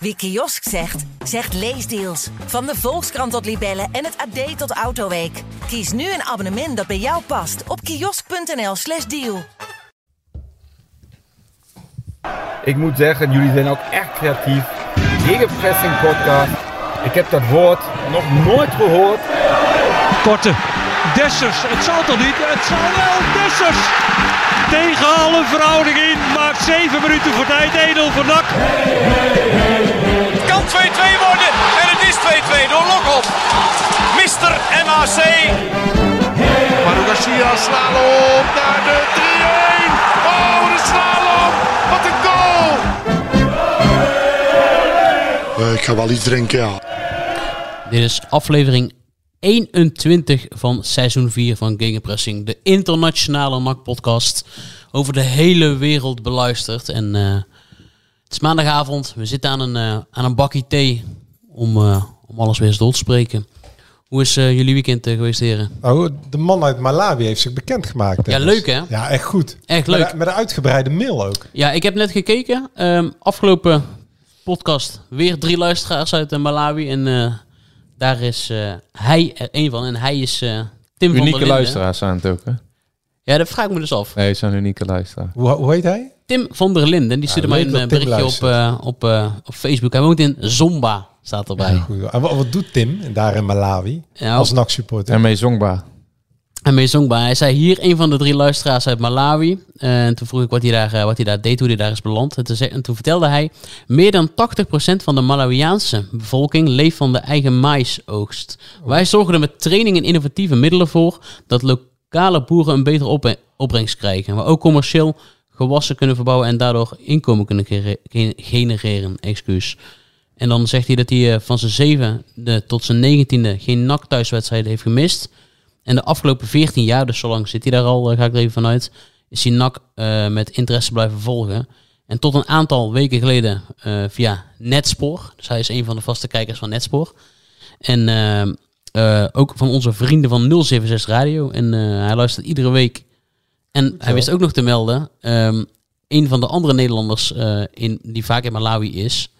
Wie kiosk zegt, zegt leesdeals. Van de Volkskrant tot Libellen en het AD tot Autoweek. Kies nu een abonnement dat bij jou past op kiosk.nl/slash deal. Ik moet zeggen, jullie zijn ook echt creatief. Gegenpressing podcast. Ik heb dat woord nog nooit gehoord. Korte. Dessers. Het zal toch niet? Het zal wel. Dessers. Tegen alle verhouding in. Maakt 7 minuten voor tijd. Edel van Dak. Het kan 2-2 worden. En het is 2-2 door Lokop. Mister MAC. Maru Garcia, slalom naar de 3-1. Oh, de slalom. Wat een goal. Eh, ik ga wel iets drinken, ja. Dit is aflevering 21 van seizoen 4 van Gegenpressing, de internationale NAC-podcast. Over de hele wereld beluisterd. En eh, het is maandagavond, we zitten aan een, eh, aan een bakje thee om, eh, om alles weer eens door te spreken. Hoe is eh, jullie weekend eh, geweest, heren? Oh, de man uit Malawi heeft zich bekendgemaakt. Ja, Dennis. leuk, hè? Ja, echt goed. Echt Met leuk. een- Met een uitgebreide mail ook. Ja, ik heb net gekeken. Ehm, afgelopen podcast weer drie luisteraars uit eh, Malawi. En eh, daar is eh, hij er één van. En hij is eh, Tim van der Unieke Linden. luisteraars aan het ook, hè? Ja, dat vraag ik me dus af. Nee, zo'n unieke luisteraar. Hoe, hoe heet hij? Tim van der Linden, die stuurde leuk mij een dat eh, Tim berichtje op, eh, op, eh, op Facebook. Hij woont in Zomba, staat erbij. Goed. En wat, wat doet Tim daar in Malawi Ja, als op- NAC-supporter? En mee zongbaar. En mee zongbaar. Hij zei hier een van de drie luisteraars uit Malawi. Eh, en toen vroeg ik wat hij daar, eh, wat hij daar deed, hoe hij daar is beland. En toen, zei- en toen vertelde hij, meer dan 80% van de Malawiaanse bevolking leeft van de eigen maisoogst. Wij zorgen er met training en innovatieve middelen voor dat lokale boeren een betere op- opbrengst krijgen. Maar ook commercieel gewassen kunnen verbouwen en daardoor inkomen kunnen gere- gen- genereren. Excuus. En dan zegt hij dat hij eh, van zijn zevende tot zijn negentiende geen NAC thuiswedstrijden heeft gemist. En de afgelopen 14 jaar, dus zo lang zit hij daar al, eh, ga ik er even vanuit, is hij NAC eh, met interesse blijven volgen. En tot een aantal weken geleden eh, via Netspoor. Dus hij is een van de vaste kijkers van Netspoor. En eh, eh, ook van onze vrienden van 076 Radio. En eh, hij luistert iedere week. En hij wist ook nog te melden, ehm, een van de andere Nederlanders eh, in, die vaak in Malawi is,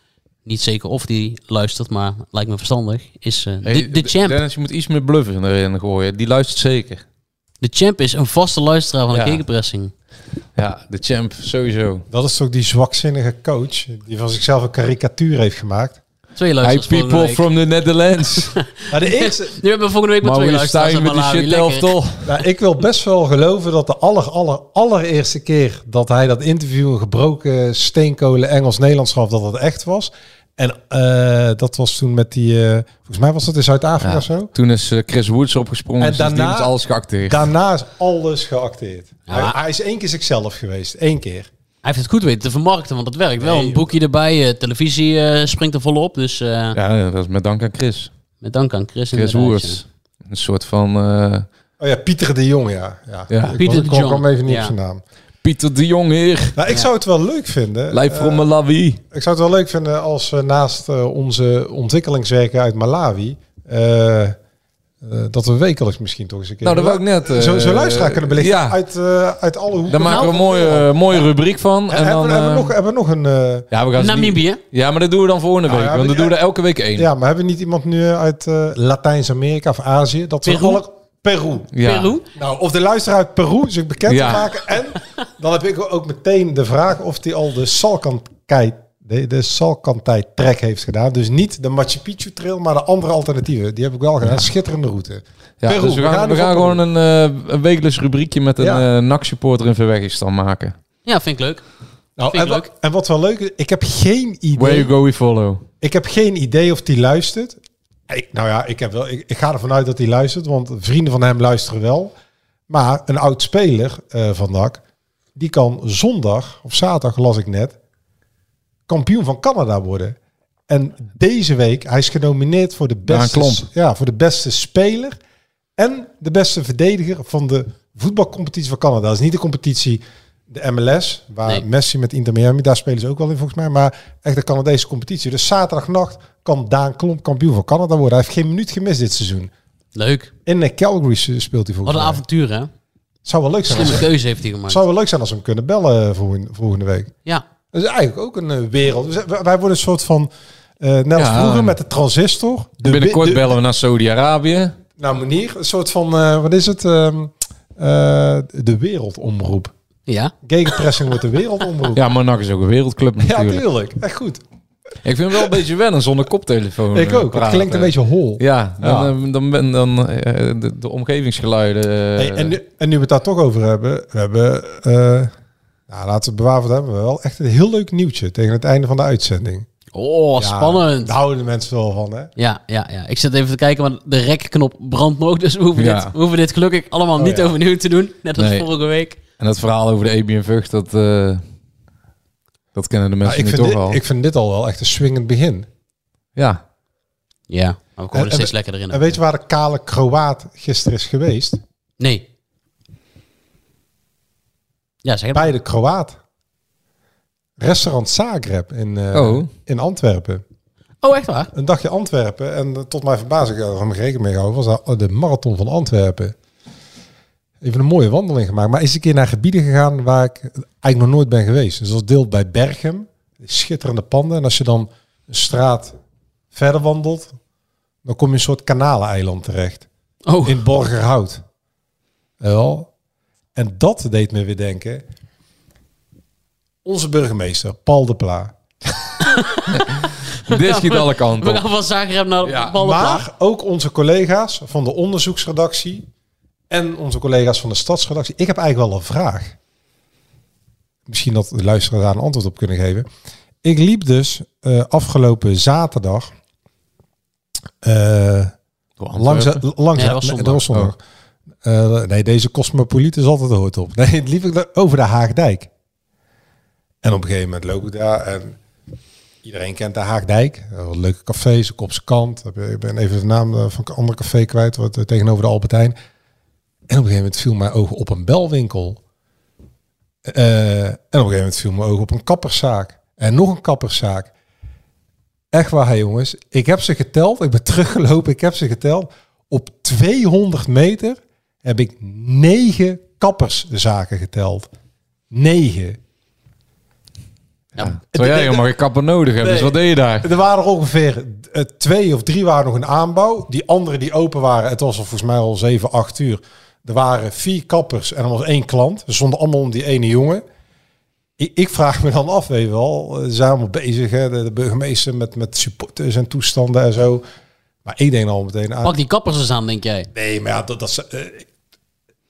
niet zeker of die luistert, maar lijkt me verstandig, is eh, de, de champ. Dennis, je moet iets meer bluffen erin gooien. Die luistert zeker. De champ is een vaste luisteraar van Ja. de Gegenpressing. Ja, de champ, sowieso. Dat is toch die zwakzinnige coach die van zichzelf een karikatuur heeft gemaakt. Twee Hi luisteraars volgende people week. from the Netherlands. Maar de eerste, Nu hebben we volgende week maar twee Maurice luisteraars Stijn uit met die Malawi. shit Lekker. elftal. nou, ik wil best wel geloven dat de aller, aller, allereerste keer dat hij dat interview een gebroken steenkolen Engels-Nederlands gaf, dat dat echt was. En eh, dat was toen met die, eh, volgens mij was dat in Zuid-Afrika Ja, of zo. Toen is eh, Chris Woods opgesprongen. En En daarna... daarna- is alles geacteerd. Daarna is alles geacteerd. Ja. Hij, hij is één keer zichzelf geweest. Eén keer. Hij heeft het goed weten te vermarkten, want dat werkt wel. Nee, Een boekje erbij, eh, televisie eh, springt er volop. Dus eh, Ja, dat is met dank aan Chris. met dank aan Chris. Chris inderdaad, Woods. ja. Een soort van eh, Oh ja, Pieter de Jong, ja. ja. Ja. Ik Pieter kon- de kon- Jong. kwam even niet Ja. op zijn naam. Pieter de Jong hier. Nou, ik zou het wel leuk vinden. Live eh, from Malawi. ik zou het wel leuk vinden als we naast eh, onze ontwikkelingswerken uit Malawi... eh, eh, dat we wekelijks misschien toch eens een keer... Nou, dat wou ik net. eh, zo, zo luisteraar kunnen belichten Ja, uit, eh, uit alle hoeken. daar maken we een Nou. mooie, eh, mooie rubriek van. en En dan, hebben, we- hebben, we nog, eh, hebben we nog een... eh, ja, we gaan ze niet- Namibië. Ja, maar dat doen we dan volgende Nou week. ja, want maar dan die- doen we er elke week één. ja, maar hebben we niet iemand nu uit eh, Latijns-Amerika of Azië? Dat we Peru? alle- Peru. Ja. Peru. Nou, of de luisteraar uit Peru zich bekend Ja. te maken. En dan heb ik ook meteen de vraag of hij al de Salkantij, de, de Salkantij trek heeft gedaan. Dus niet de Machu Picchu trail, maar de andere alternatieven. Die heb ik wel gedaan. Schitterende route. Ja, Peru, dus we we gaan, gaan we dus op- gaan gewoon een, eh, een wekelijks rubriekje met een Ja. eh, NAC-supporter in Verwegistan maken. Ja, vind ik leuk. vind Nou, en, ik wa- leuk. en wat wel leuk is, ik heb geen Where idee. you go, we follow. Ik heb geen idee of die luistert. Ik, nou ja, ik, heb wel, ik, ik ga ervan uit dat hij luistert, want vrienden van hem luisteren wel. Maar een oud speler eh, van NAC, die kan zondag of zaterdag, las ik net, kampioen van Canada worden. En deze week, hij is genomineerd voor de Daan beste, Klomp. ja, voor de beste speler en de beste verdediger van de voetbalcompetitie van Canada. Dat is niet de competitie, de MLS, waar Nee. Messi met Inter Miami, daar spelen ze ook wel in volgens mij, maar echt de Canadese competitie. Dus zaterdagnacht kan Daan Klomp kampioen van Canada worden. Hij heeft geen minuut gemist dit seizoen. Leuk. In eh, Calgary s- speelt hij Wat volgens een mij. avontuur, hè? Zou wel leuk zijn. Als Slimme we, keuze heeft hij gemaakt. zou wel leuk zijn als we hem kunnen bellen eh, volgende, volgende week. Ja. Dat is eigenlijk ook een eh, wereld. We zijn- wij wij worden een soort van... eh net als Ja. vroeger met de transistor. De Binnenkort wi- de- bellen we naar Saudi-Arabië. Nou, manier. Een soort van... eh, wat is het? Ehm, eh, de wereldomroep. Ja. Gegenpressing wordt de wereldomroep. Ja, maar NAC is ook een wereldclub Ja, natuurlijk. tuurlijk. Echt goed. ik vind hem wel een beetje wennen zonder koptelefoon. Ik eh, ook. Het praten. klinkt een beetje hol. Ja, dan, Ja. eh, dan, ben- dan, eh, de, de omgevingsgeluiden. eh, Hey, en, nu, en nu we het daar toch over hebben, we hebben, eh, nou, laten we het bewaren, dat hebben we wel echt een heel leuk nieuwtje tegen het einde van de uitzending. Oh, Ja, spannend. Daar houden de mensen wel van, hè? Ja, ja, ja. Ik zit even te kijken, want de rekknop brandt nog. Dus we hoeven, Ja. Oh, dit, we hoeven dit gelukkig allemaal niet ja. overnieuw te doen. Net als Nee. vorige week. En dat verhaal over de EBM Vught, dat, eh, dat kennen Nou, de mensen ik, nu vind toch dit, al. ik vind dit al wel echt een swingend begin. Ja, Eh, Ja, maar we komen En- er en steeds we- lekkerder in. En weet je waar de kale Kroaat gisteren is geweest? Nee. Ja, zeg het maar. Bij de Kroaat. Restaurant Zagreb in, eh, Oh. in Antwerpen. Oh, echt waar? Een dagje Antwerpen. En eh, tot mijn verbazing, ik had er helemaal geen rekening mee gehouden, was dat de marathon van Antwerpen. Even een mooie wandeling gemaakt. Maar is een keer naar gebieden gegaan waar ik eigenlijk nog nooit ben geweest. Dus dat deel bij Berchem. Schitterende panden. En als je dan een straat verder wandelt, dan kom je een soort kanaleiland terecht. Oh, In Borgerhout. Eh, Wel. En dat deed me weer denken. Onze burgemeester, Paul de Pla. dit schiet alle kanten we op. gaan van Zagreb naar ja, Ja, Maar ook onze collega's van de onderzoeksredactie en onze collega's van de stadsredactie. Ik heb eigenlijk wel een vraag. Misschien dat de luisteraars daar een antwoord op kunnen geven. Ik liep dus eh, afgelopen zaterdag eh, langs, langs Nee, dat was zondag. dat was zondag. Eh, nee, deze cosmopoliet is altijd hoort op. Nee, liep ik daar over de Haagdijk. En op een gegeven moment loop ik daar en Iedereen kent de Haagdijk. Eh, Wat leuke cafés, Kopse Kant. Heb je- Ik ben even de naam eh, van een ander café kwijt, wat eh, tegenover de Albertijn. En op een gegeven moment viel mijn ogen op een belwinkel. Eh, en op een gegeven moment viel mijn ogen op een kapperszaak. En nog een kapperszaak. Echt waar, hè, jongens. Ik heb ze geteld. Ik ben teruggelopen. Ik heb ze geteld. Op 200 meter heb ik negen kapperszaken geteld. Negen. Terwijl jij helemaal geen kapper nodig hebt, dus Nee. wat deed je daar? Er waren er ongeveer eh, twee of drie waren nog een aanbouw. Die andere die open waren, het was al volgens mij al zeven, acht uur. Er waren vier kappers en er was één klant. Ze stonden allemaal om die ene jongen. Ik, ik vraag me dan af, weet je wel. eh, Ze zijn allemaal bezig, hè, de, de burgemeester met, met supporters en toestanden en zo. Maar ik denk al meteen aan... Pak die kappers eens aan, denk jij. Nee, maar ja, dat, dat is... eh,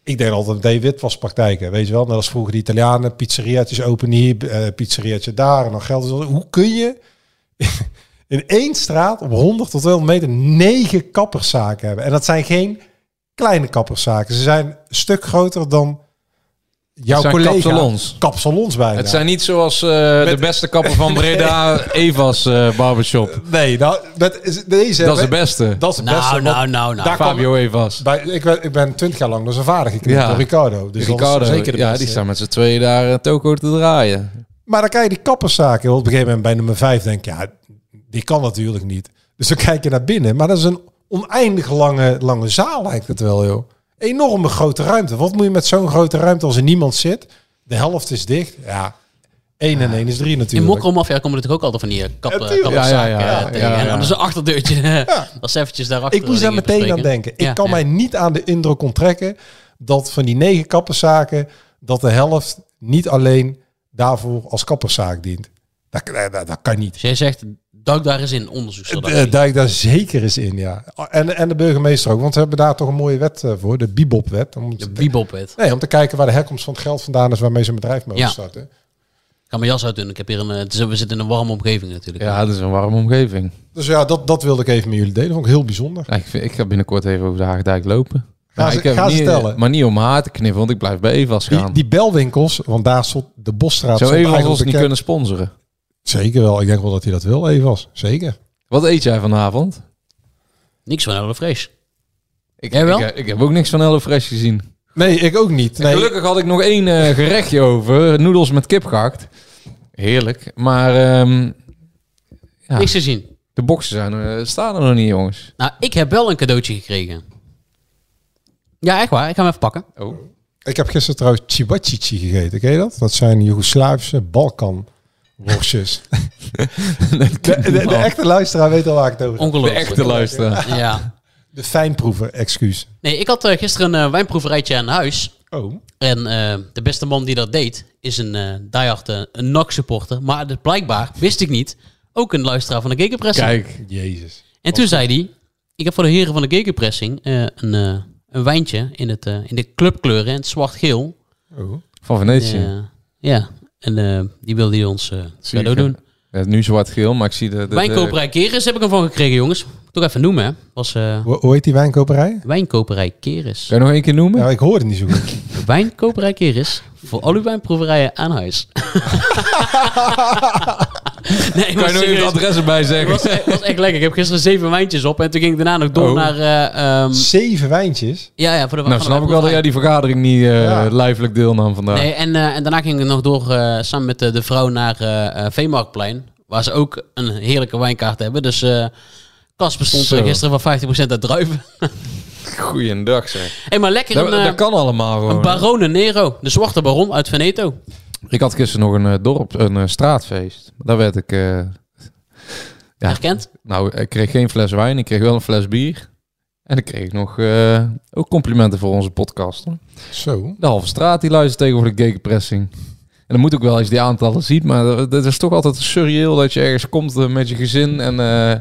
ik denk altijd meteen witwaspraktijken, weet je wel. Net als vroeger de Italianen, pizzeriaatjes open hier, eh pizzeriaatje daar en dan geld. is- Hoe kun je in één straat op 100 tot 200 meter negen kapperszaken hebben? En dat zijn geen kleine kapperszaken. Ze zijn een stuk groter dan jouw zijn collega. kapsalons. Kapsalons bijna. Het zijn niet zoals eh, de Met- beste kapper van Breda, Eva's eh, barbershop. Nee, nou, dat is, deze... Dat is de beste. Dat is het beste. Nou, want nou, nou, nou. daar kwam- Fabio Eva's. Bij, ik, ben, ik ben 20 jaar lang door zijn vader geknipt, Ja. door Ricardo. Dus dat Ricardo, is zeker de ja, beste. die staan met z'n tweeën daar eh, toko te draaien. Maar dan krijg je die kapperszaken. Op een gegeven moment bij nummer 5 denk je, ja, die kan natuurlijk niet. Dus dan kijk je naar binnen. Maar dat is een oneindig lange, lange zaal lijkt het wel, joh. Enorme grote ruimte. Wat moet je met zo'n grote ruimte als er niemand zit? De helft is dicht. Ja, 1 en 1 is 3 In natuurlijk. Mokkelmafia komen natuurlijk ook altijd van die eh, kappen, Ja, tuurlijk. kapperszaken Ja, ja, ja, eh, ja, tegen. ja, En ja. dan is een achterdeurtje. Dat is eventjes daarachter. ik moest daar dingen meteen aan bespreken. denken. Ik Ja, kan ja. mij niet aan de indruk onttrekken dat van die negen kapperszaken, dat de helft niet alleen daarvoor als kapperszaak dient. Dat, dat, dat kan niet. Dus jij zegt, duik daar eens in, onderzoeksredactie. Eh, Duik daar zeker eens in, ja. En, en de burgemeester ook, want we hebben daar toch een mooie wet eh, voor, de Bibop-wet. Om, De te- Bibopwet. nee, om te kijken waar de herkomst van het geld vandaan is waarmee ze een bedrijf mogen Ja. starten. Ik kan mijn jas uitdoen. Ik heb hier een, eh, het is- we zitten in een warme omgeving natuurlijk. Ja, dat is een warme omgeving. Dus ja, dat, dat wilde ik even met jullie delen. Vond ik heel bijzonder. Ja, ik, vind- ik ga binnenkort even over de Haagdijk lopen. Ga Maar ze- ik heb ga ze niet- tellen. Maar niet om haar te knippen, want ik blijf bij Eva's Die, gaan. die belwinkels, want daar stond de Bosstraat. Zou stond Eva's eigenlijk ons niet bekend- kunnen sponsoren? Zeker wel. Ik denk wel dat hij dat wil, Evas. Zeker. Wat eet jij vanavond? Niks van hele vrees. Ik, Jij wel? Ik, ik heb ook niks van HelloFresh gezien. Nee, ik ook niet. Nee. Gelukkig had ik nog één eh, gerechtje over. Noedels met kip gehakt. Heerlijk. Maar ehm, Ja. Niks te zien. de boksen zijn er, eh, staan er nog niet, jongens. Nou, ik heb wel een cadeautje gekregen. Ja, echt waar. Ik ga hem even pakken. Oh. Ik heb gisteren trouwens chibachichi gegeten. Ken je dat? Dat zijn Joegoslavische Balkan worstjes. de, de, de echte luisteraar weet al waar ik het over heb. De Ongelooflijk. echte luisteraar. Ja. De fijnproeven, excuus. Nee, ik had eh, gisteren een eh, wijnproeverijtje aan huis. Oh, En eh, de beste man die dat deed is een eh diehard eh, een NAC supporter. Maar dat blijkbaar, wist ik niet, ook een luisteraar van de Gegenpressing. Kijk, jezus. En toen zei hij, ik heb voor de heren van de Gegenpressing eh, een, eh, een wijntje in, het, eh, in de clubkleuren, in het zwart-geel. Oh. van Eh, Venetië. ja, en eh, die wilde hij ons eh Zie eh, ik, cadeau doen. Ja, nu zwart-geel, maar ik zie de... de- de- Wijnkoperij Keres heb ik hem van gekregen, jongens. Toch even noemen, hè. was eh, Hoe, hoe heet die wijnkoperij? Wijnkoperij Keres. Kan je nog één keer noemen? Nou, ik hoorde niet zo goed. Wijnkoperij Keres voor al uw wijnproeverijen aan huis. nee, kan maar je nog even serieus. het adres erbij zeggen? was, echt- was echt lekker. Ik heb gisteren zeven wijntjes op en toen ging ik daarna nog door Oh. naar... eh, ehm, Zeven wijntjes. ja, ja, voor de Nou, van de snap ik wel dat jij die vergadering niet eh, Ja. lijfelijk deelnam vandaag. Nee, en, eh, en daarna ging ik nog door eh, samen met eh, de vrouw naar eh, eh, Veemarktplein. Waar ze ook een heerlijke wijnkaart hebben. Dus eh kas bestond Zo. eh, gisteren van 50% uit druiven. Goeiedag zeg. hey, maar lekker Dat, een, eh, dat kan allemaal gewoon. een Barone Nero. De zwarte baron uit Veneto. Ik had gisteren nog een eh, dorp, een eh, straatfeest. Daar werd ik... eh, Ja. Herkend? nou, ik kreeg geen fles wijn. Ik kreeg wel een fles bier. En ik kreeg nog eh, ook complimenten voor onze podcast. hoor. Zo. De halve straat die luistert tegenwoordig gegenpressing. En dan moet ook wel eens die aantallen ziet. Maar dat- dat is toch altijd surreëel dat je ergens komt eh, met je gezin. En eh, een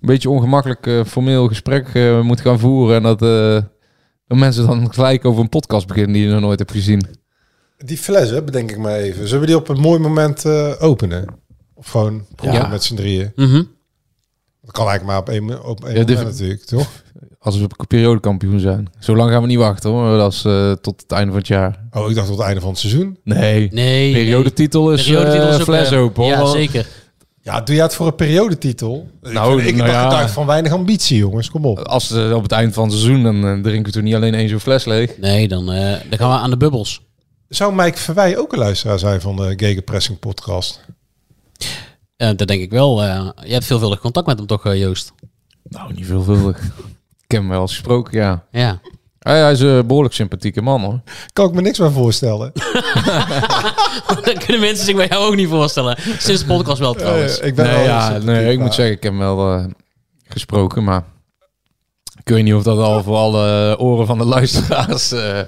beetje ongemakkelijk eh, formeel gesprek eh, moet gaan voeren. En dat, eh, dat mensen dan gelijk over een podcast beginnen die je nog nooit hebt gezien. Die fles, hè, bedenk ik maar even. Zullen we die op een mooi moment eh, openen? Of gewoon proeven Ja. met z'n drieën? Mhm. Dat kan eigenlijk maar op één, mo- op één Ja, dit- moment natuurlijk, toch? Als we periodekampioen zijn. Zo lang gaan we niet wachten hoor. Dat is eh, tot het einde van het jaar. Oh, ik dacht tot het einde van het seizoen. Nee. Nee. Periodetitel is, Periodetitel is eh, ook, fles eh, open. hoor. Ja, Want- zeker. Ja, doe jij het voor een periodetitel? Ik Nou, vind- ik nou dacht, ja. ik dacht van weinig ambitie, jongens. Kom op. Als ze op het eind van het seizoen, dan eh, drinken we toen niet alleen één zo'n fles leeg. Nee, dan, eh, dan gaan we aan de bubbels. Zou Mike Verwij ook een luisteraar zijn van de Gegenpressing podcast? Eh, dat denk ik wel. eh. je hebt veelvuldig contact met hem toch, eh, Joost? Nou, niet veelvuldig. ik heb hem wel eens gesproken, ja. Ja. Hij, hij is een behoorlijk sympathieke man hoor. Kan ik me niks meer voorstellen. Eh, dat kunnen mensen zich bij jou ook niet voorstellen. Sinds de podcast wel trouwens. Eh, ik ben Nee, wel ja, een- nee, ik moet zeggen, ik heb hem wel eh, gesproken, maar ik weet niet of dat al voor alle eh, oren van de luisteraars... eh, ik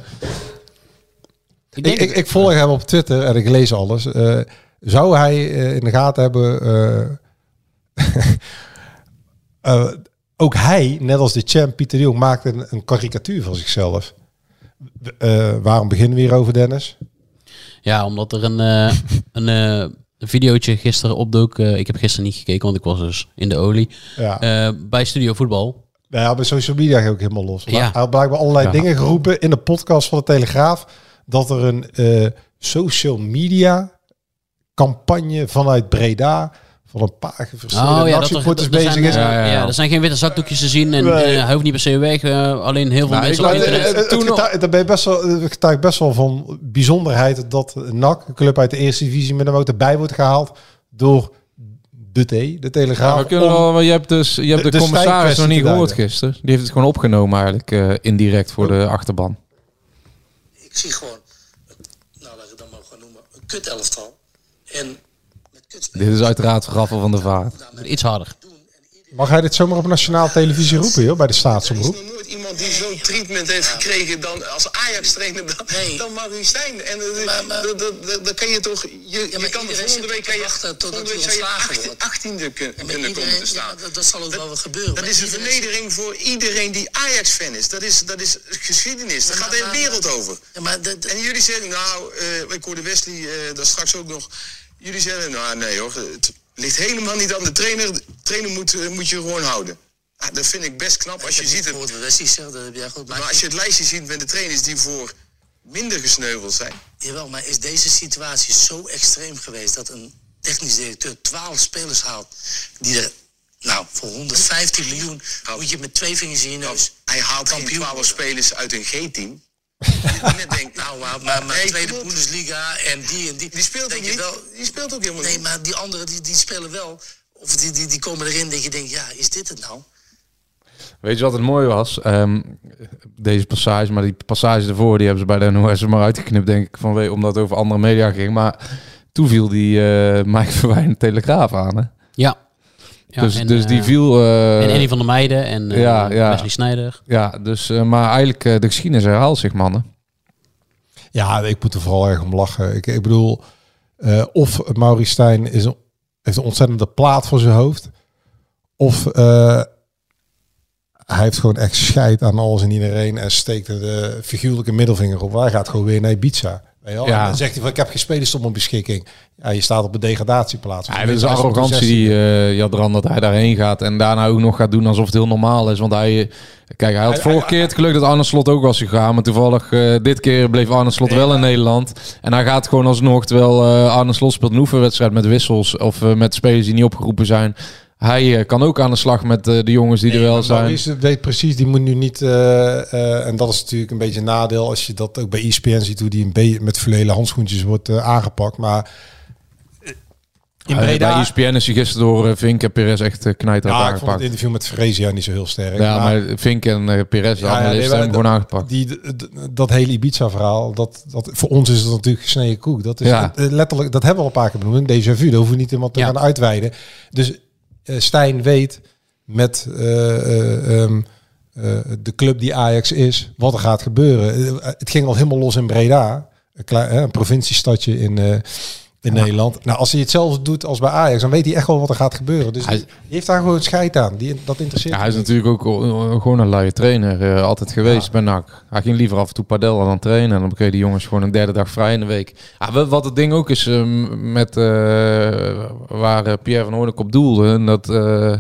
Ik, denk ik, ik volg hem op Twitter en ik lees alles. Eh, zou hij eh, in de gaten hebben... eh, eh, ook hij, net als de champ Pieter de Jong, maakt een, een karikatuur van zichzelf. Eh, waarom beginnen we hier over, Dennis? Ja, omdat er een, eh, een, eh, een videootje gisteren opdook. eh, ik heb gisteren niet gekeken, want ik was dus in de olie. Ja. Eh, bij Studio Voetbal. Nou ja, bij social media ging ook helemaal los. Maar Ja. Hij had blijkbaar allerlei Ja. dingen geroepen in de podcast van de Telegraaf. Dat er een eh, social media campagne vanuit Breda van een paar verschillende Oh ja, dat er, actieporters er, zijn, bezig is. eh, Ja, ja, ja, ja. er zijn geen witte zakdoekjes te zien. En Nee. eh, hij hoeft niet per se weg. eh, alleen heel veel Nou, mensen ik op laat- internet. eh, eh, Het toen nog- getuigt- Daar ben je best wel, het getuigt best wel van bijzonderheid dat NAC, een club uit de eerste divisie, met hem ook erbij wordt gehaald door de T, de Telegraaf. we kunnen om- wel- maar je hebt dus je hebt de, de- de commissaris nog stijgkwestie niet te gehoord duiden. gisteren. Die heeft het gewoon opgenomen eigenlijk, eh, indirect voor Oh. de achterban. ik zie gewoon, nou laat ik het dan maar gewoon noemen, een kut elftal. En met Dit kutspelers is uiteraard Raffel van de Vaart. eh, Iets harder. doen. En iedereen... Mag hij dit zomaar op nationale televisie roepen, joh, bij de Er is staatsomroep? nog nooit iemand die zo'n treatment heeft gekregen dan als Ajax-trainer dan, dan Marie Stijn. En eh, dat- dat- dat- dan kan je toch, je, je kan volgende week kan je, volgende week zou je 18, 18e kun- kunnen komen te staan. dat, zal ook wel gebeuren. Dat is een vernedering voor iedereen die Ajax-fan is. Dat is, dat is geschiedenis. Daar gaat de hele wereld over. en jullie zeggen, nou, eh, ik hoorde Wesley eh daar straks ook nog. Jullie zeggen, nou nee hoor, het ligt helemaal niet aan de trainer. De trainer moet, eh, moet je gewoon houden. Ah, dat vind ik best knap als je ziet het. Wesley zegt, dat heb jij goed. Maar als je het lijstje ziet met de trainers die voor minder gesneuveld zijn. Jawel, maar is deze situatie zo extreem geweest dat een technisch directeur 12 spelers haalt die er. Nou, voor 115 miljoen moet je met twee vingers in je neus. Hij haalt kampioen 12 spelers uit een G-team. net denk, nou, maar, maar, maar tweede Bundesliga en die en die. Die speelt ook niet. die speelt ook helemaal nee, maar die anderen die, die spelen wel. Of die, die, die komen erin dat je denkt, ja, is dit het nou? Weet je wat het mooie was? Ehm, deze passage, maar die passage ervoor, die hebben ze bij de NOS er maar uitgeknipt, denk ik, vanwege, omdat het over andere media ging. Maar Toen viel die eh Mike Verwijn de Telegraaf aan, hè? Ja. Ja, dus, en, dus die eh, viel... eh, en Annie van der Meijden en eh, ja, ja. Wesley Snijder. Ja, dus, eh, maar eigenlijk eh, de geschiedenis herhaalt zich, mannen. Ja, ik moet er vooral erg om lachen. Ik, ik bedoel, eh, of Maurice Stijn is een, heeft een ontzettende plaat voor zijn hoofd. Of eh, hij heeft gewoon echt scheid aan alles en iedereen en steekt er de figuurlijke middelvinger op. Hij gaat gewoon weer naar Ibiza. Weet je wel? Ja. En dan zegt hij van, ik heb geen spelers op mijn beschikking. Ja, je staat op een degradatieplaats. Ja, dat is de arrogantie die eh Jadran dat hij daarheen gaat en daarna ook nog gaat doen alsof het heel normaal is. Want hij, eh, kijk, hij had Hij- vorige keer het geluk dat Arne Slot ook was gegaan, maar toevallig eh, dit keer bleef Arne Slot wel in Nederland. En hij gaat gewoon alsnog, terwijl eh Arne Slot speelt een oefenwedstrijd met wissels of eh, met spelers die niet opgeroepen zijn. Hij eh, kan ook aan de slag met eh, de jongens die er wel Maar zijn. Maurice weet precies, die moet nu niet. eh, eh, en dat is natuurlijk een beetje een nadeel als je dat ook bij E ESPN ziet, hoe die een beetje met fluwelen handschoentjes wordt eh, aangepakt. Maar eh, in Eh, Breda. bij ESPN is hij gisteren door eh, Vink en Perez echt uh, knijter ja, ik vond het aangepakt. interview met Fresia niet zo heel sterk. Ja, maar Vink en eh, Perez, de Ja, ja, analisten, nee, maar hebben hem gewoon dat- aangepakt. Die, d- d- dat hele Ibiza-verhaal, dat, dat, voor ons is dat natuurlijk gesneden koek. Dat is Ja. eh, letterlijk, dat hebben we al een paar keer benoemd. Deze vu, daar hoeven we niet iemand te Ja. gaan uitweiden. Dus eh, Stijn weet met eh, eh, ehm, eh, de club die Ajax is, wat er gaat gebeuren. Eh, het ging al helemaal los in Breda, een, klein, hè, een provinciestadje in, eh, in Nederland. Nou, als hij hetzelfde doet als bij Ajax, dan weet hij echt wel wat er gaat gebeuren. Dus Hij- die, die heeft daar gewoon scheid aan. Die, dat interesseert Ja, hij hem is niet. natuurlijk ook eh, gewoon een luie trainer. eh, altijd geweest bij NAC. Hij ging liever af en toe padellen dan trainen. En dan kregen die jongens gewoon een derde dag vrij in de week. Ah, wa- wat het ding ook is eh, m- met eh, waar eh, Pierre van Hoornik op doelde. En dat, eh,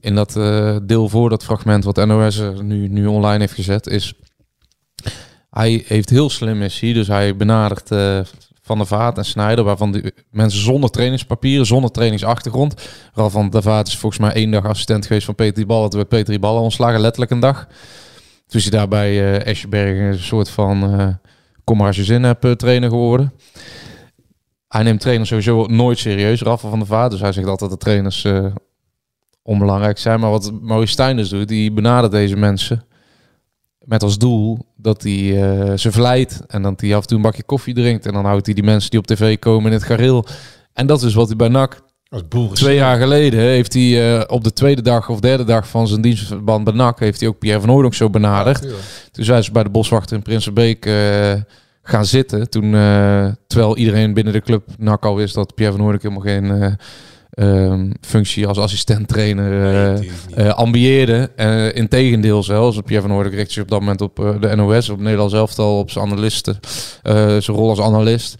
in dat eh, deel voor dat fragment wat NOS er nu, nu online heeft gezet. Is hij heeft heel slim is hij. Dus hij benadert eh, Van der Vaart en Snijder. Waarvan die mensen zonder trainingspapieren, zonder trainingsachtergrond. Ralf van der Vaart is volgens mij één dag assistent geweest van Peter die Ballen. Toen werd Peter die Ballen ontslagen, letterlijk een dag. Toen is hij daarbij eh Eschenberg een soort van eh kom maar als je zin hebt eh, trainer geworden. Hij neemt trainers sowieso nooit serieus, Ralf van der Vaart. Dus hij zegt altijd dat de trainers eh, onbelangrijk zijn. Maar wat Maurice Stijn dus doet, die benadert deze mensen met als doel dat hij eh, ze verleidt. En dat hij af en toe een bakje koffie drinkt. En dan houdt hij die mensen die op tv komen in het gareel. En dat is wat hij bij NAC Als boeren. Twee jaar geleden heeft hij eh, op de tweede dag of derde dag van zijn dienstverband bij NAC... heeft hij ook Pierre van Hooydonk zo benaderd. Ja, tuurlijk. Toen zijn ze bij de boswachter in Prinsenbeek eh, gaan zitten. Toen, eh, terwijl iedereen binnen de club NAC al wist dat Pierre van Hooydonk helemaal geen... eh, ehm, functie als assistent-trainer eh, eh, ambieerde. Eh, Integendeel zelfs. Pierre van Hoornik richt zich op dat moment op eh, de NOS, op Nederland zelf al, op zijn analisten, eh, zijn rol als analist.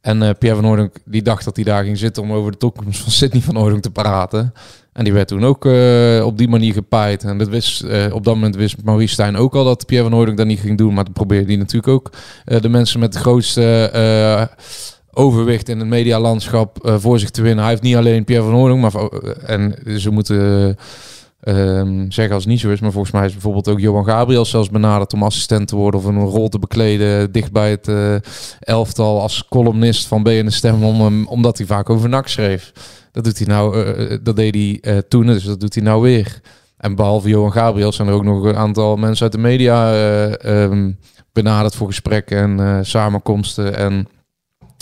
En eh, Pierre van Hoornik die dacht dat hij daar ging zitten om over de toekomst van Sidney van Hoornik te praten. En die werd toen ook eh, op die manier gepaaid. En dat wist, eh, op dat moment wist Maurice Stijn ook al dat Pierre van Hoornik dat niet ging doen. Maar dan probeerde hij natuurlijk ook eh, de mensen met de grootste eh, overwicht in het medialandschap eh, voor zich te winnen. Hij heeft niet alleen Pierre van Hoorn, maar vo- en ze moeten eh, ehm, zeggen als het niet zo is, maar volgens mij is bijvoorbeeld ook Johan Gabriel zelfs benaderd om assistent te worden of een rol te bekleden dicht bij het eh, elftal als columnist van BN de Stem, om, hem- omdat hij vaak over NAC schreef. Dat doet hij nou, eh, eh, dat deed hij eh, toen, dus dat doet hij nou weer. En behalve Johan Gabriel zijn er ook nog een aantal mensen uit de media eh, ehm, benaderd voor gesprekken en eh, samenkomsten en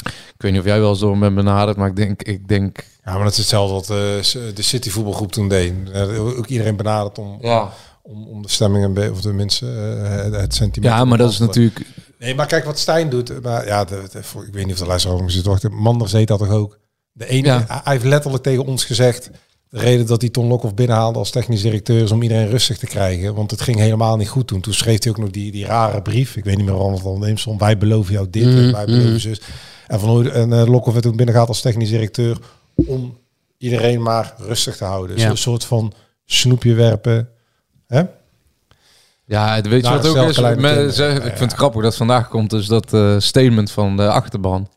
ik weet niet of jij wel eens door hem bent benaderd, maar ik denk, ik denk Ja, maar dat is hetzelfde wat eh, de City voetbalgroep toen deed. Eh, ook iedereen benaderd om, ja. om, om de stemming een beetje, of tenminste eh, het- het sentiment. ja, te maar dat is beantwoorden. natuurlijk. Nee, maar kijk wat Stijn doet. eh, Maar, ja, de, de- voor- ik weet niet of de luisteraar op me zit te wachten. Manders deed dat toch ook? De ene, Ja. hij hij heeft letterlijk tegen ons gezegd... de reden dat hij Ton Lokhoff binnenhaalde als technisch directeur... is om iedereen rustig te krijgen. Want het ging helemaal niet goed toen. Toen schreef hij ook nog die, die rare brief. Ik weet niet meer waarom het al neemt stond. Wij beloven jou dit Mm, en wij beloven zus. En, van, Hooyd- en eh, Lokhoff werd toen binnengehaald als technisch directeur... om iedereen maar rustig te houden. Dus Ja. een soort van snoepje werpen. Hè? Ja, het- weet je Nou, wat ook is? zelfgeleide Men- kinderen. ze- Ja, ik eh, ja. vind het grappig dat vandaag komt dus dat eh, statement van de achterban.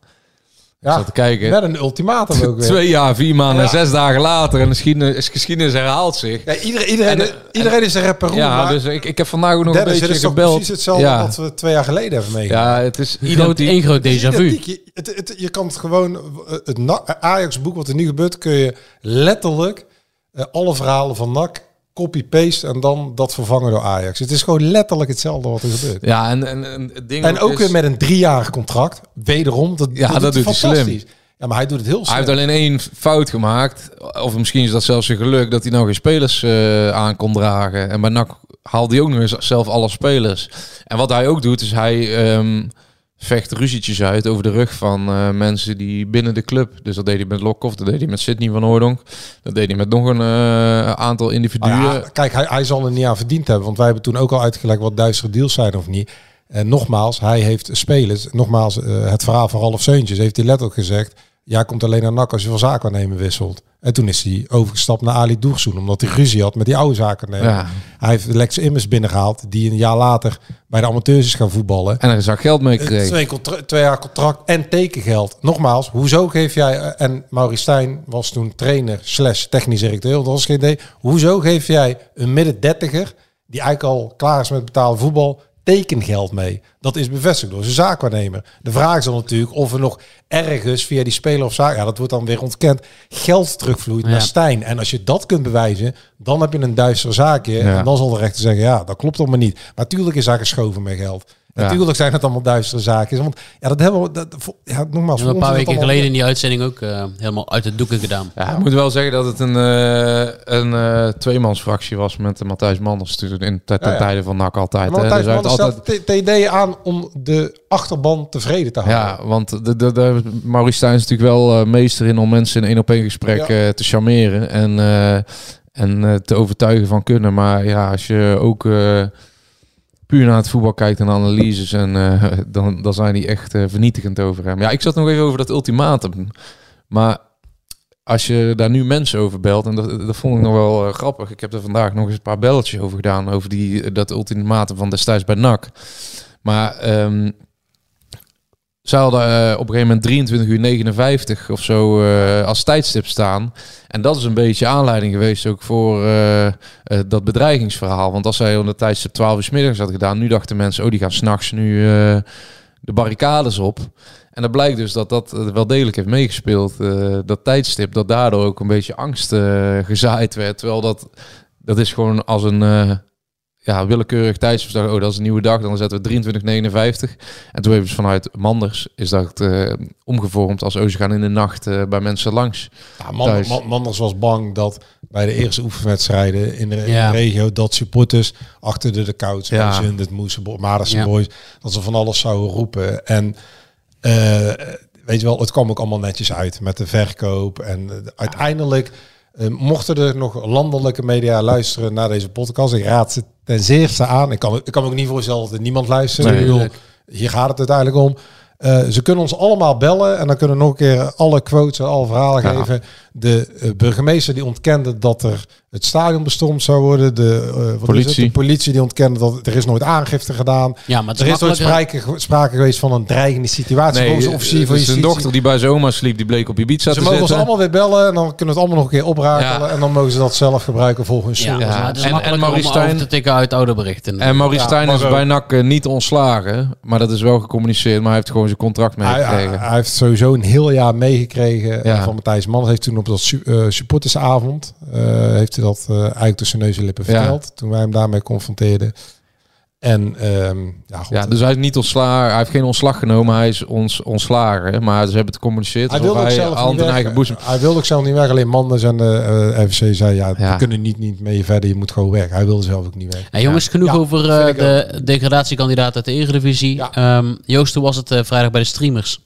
Ik zat te kijken. Met een ultimatum ook weer. Twee jaar, vier maanden, Ja. zes dagen later en de geschiedenis, geschiedenis herhaalt zich. Ja, iedereen, iedereen, En, eh, iedereen is een rapper. Ja, dus ik, ik heb vandaag ook nog Dennis, een dit beetje is toch gebeld. precies hetzelfde ja. wat we twee jaar geleden hebben meegemaakt. ja, het is Groot, identiek. één groot Het is déjà vu. identiek. Je, het, het- je kan het gewoon, eh, het Na- Ajax-boek wat er nu gebeurt, kun je letterlijk eh, alle verhalen van NAC copy-paste en dan dat vervangen door Ajax. Het is gewoon letterlijk hetzelfde wat er gebeurt. Ja, en, en, en het ding En ook is- weer met een driejarig contract. Wederom, dat, Ja, dat doet hij slim. fantastisch. Ja, maar hij doet het heel Hij snel. heeft alleen één fout gemaakt. Of misschien is dat zelfs zijn geluk dat hij nou geen spelers eh, aan kon dragen. En bij NAC haalde hij ook nog eens zelf alle spelers. En wat hij ook doet, is hij ehm, vecht ruzietjes uit over de rug van eh, mensen die binnen de club. Dus dat deed hij met Lokhoff, dat deed hij met Sidney van Hoordonk. Dat deed hij met nog een eh, aantal individuen. Nou ja, kijk, hij, hij zal er niet aan verdiend hebben. Want wij hebben toen ook al uitgelegd wat duistere deals zijn of niet. En nogmaals, hij heeft spelers. Nogmaals, eh, het verhaal van Ralf Seuntjes heeft hij letterlijk gezegd. Jij komt alleen naar NAC als je van zakennemen wisselt. En toen is hij overgestapt naar Ali Doegsoen. Omdat hij ruzie had met die oude zakennemer. Ja. Hij heeft Lex Immers binnengehaald. Die een jaar later bij de amateurs is gaan voetballen. En er is ook geld mee gekregen. Eh, Twee, contra- twee jaar contract en tekengeld. Nogmaals, hoezo geef jij... eh, En Maurice Stijn was toen trainer slash technisch directeur. Dat was geen idee. Hoezo geef jij een midden dertiger... die eigenlijk al klaar is met betalen voetbal... tekengeld mee? Dat is bevestigd door zijn zaakwaarnemer. De vraag is dan natuurlijk of er nog ergens via die speler of zaak... ja, dat wordt dan weer ontkend... geld terugvloeit Ja. naar Stijn. En als je dat kunt bewijzen... dan heb je een duister zaakje. Ja. En dan zal de rechter zeggen... ja, dat klopt allemaal niet. Maar tuurlijk is daar geschoven met geld. Ja. Natuurlijk zijn het allemaal duistere zaken. Want ja, dat hebben we. Dat, vo- ja, nogmaals, We hebben voor een paar ons is weken dat geleden allemaal- in die uitzending ook eh, helemaal uit de doeken gedaan. Ja, ik moet wel zeggen dat het een, eh, een eh, tweemansfractie was met eh, Matthijs Manders. toen In de Ja, ja. tijden van NAC altijd. Maar hè. Matthijs Dus hij heeft Manders altijd stelt de TD aan om de achterban tevreden te houden. Ja, want de, de, de, Maurice Stijn is natuurlijk wel eh, meester in om mensen in één op één gesprek Ja. eh, te charmeren en, eh, en eh, te overtuigen van kunnen. Maar ja, als je ook eh, puur naar het voetbal kijkt en analyses, en, eh, dan, dan zijn die echt eh, vernietigend over hem. Ja, ik zat nog even over dat ultimatum. Maar als je daar nu mensen over belt, en dat, dat vond ik nog wel eh, grappig. Ik heb er vandaag nog eens een paar belletjes over gedaan, over die, dat ultimatum van destijds bij NAC. Maar ehm, zij hadden eh, op een gegeven moment 23 uur 59 of zo eh, als tijdstip staan. En dat is een beetje aanleiding geweest ook voor eh, eh, dat bedreigingsverhaal. Want als zij onder tijdstip 12 uur 's middags had gedaan, nu dachten mensen, oh die gaan s'nachts nu eh, de barricades op. En dat blijkt dus dat dat eh, wel degelijk heeft meegespeeld, eh, dat tijdstip, dat daardoor ook een beetje angst eh, gezaaid werd. Terwijl dat, dat is gewoon als een... eh, ja, willekeurig tijdsverslag. Oh, dat is een nieuwe dag. Dan zetten we 2359. En toen hebben ze vanuit Manders is dat eh, omgevormd als oh, ze gaan in de nacht eh, bij mensen langs. Ja, Man- thuis. Man- Manders was bang dat bij de eerste oefenwedstrijden in de, in Ja. de regio dat supporters achter de, de couch Ja. ja. het moesten Bo- Maardense Ja. boys dat ze van alles zouden roepen en eh, weet je wel, het kwam ook allemaal netjes uit met de verkoop en eh, uiteindelijk eh, mochten er nog landelijke media luisteren naar deze podcast. Ik raad ze ten zeerste aan. Ik kan, ik kan me ook niet voorstellen dat er niemand luistert. Nee. ik bedoel, hier gaat het uiteindelijk om. Eh, ze kunnen ons allemaal bellen en dan kunnen we nog een keer alle quotes en alle verhalen Ja. geven. De eh, burgemeester die ontkende dat er het stadion bestormd zou worden. De, eh, wat is het? Politie. de politie die ontkende dat er is nooit aangifte gedaan. Ja, maar het er is is nooit makkelijker. sprake, sprake geweest van een dreigende situatie. volgens de officier eh, van zijn justitie. dochter die bij zijn oma sliep, die bleek op Ibiza Ze te mogen ons zitten. allemaal weer bellen en dan kunnen we het allemaal nog een keer oprakelen. Ja. En dan mogen ze dat zelf gebruiken volgens hun Ja, zin. Ja, maar het is en- en makkelijker Maurice om over Stijn- te tikken uit oude berichten. En Maurice Ja, Stijn maar is zo- bij NAC eh, niet ontslagen, maar dat is wel gecommuniceerd. Maar hij heeft gewoon zijn contract Hij, hij, meegekregen. hij heeft sowieso een heel jaar meegekregen eh, Ja. van Matthijs Manders. Heeft toen op dat su- eh, supportersavond eh, heeft hij dat eh eigenlijk tussen neus en lippen Ja. verteld. Toen wij hem daarmee confronteerden. En ehm, ja, goed, Ja, dus hij is niet ontslagen. Hij heeft geen ontslag genomen. Hij is ons ontslagen. Maar ze hebben het gecommuniceerd. hij alsof wilde ook hij zelf hand niet in weg. eigen boezem. Hij wilde ook zelf niet weg. Alleen Manders en eh, de FC zei ja, Ja. we kunnen niet, niet mee verder. Je moet gewoon weg. Hij wilde zelf ook niet weg. Nou, jongens, genoeg Ja, over vind eh, ik de degradatiekandidaat uit de Eredivisie. Ja. Ehm, Joost, hoe was het eh, vrijdag bij de streamers?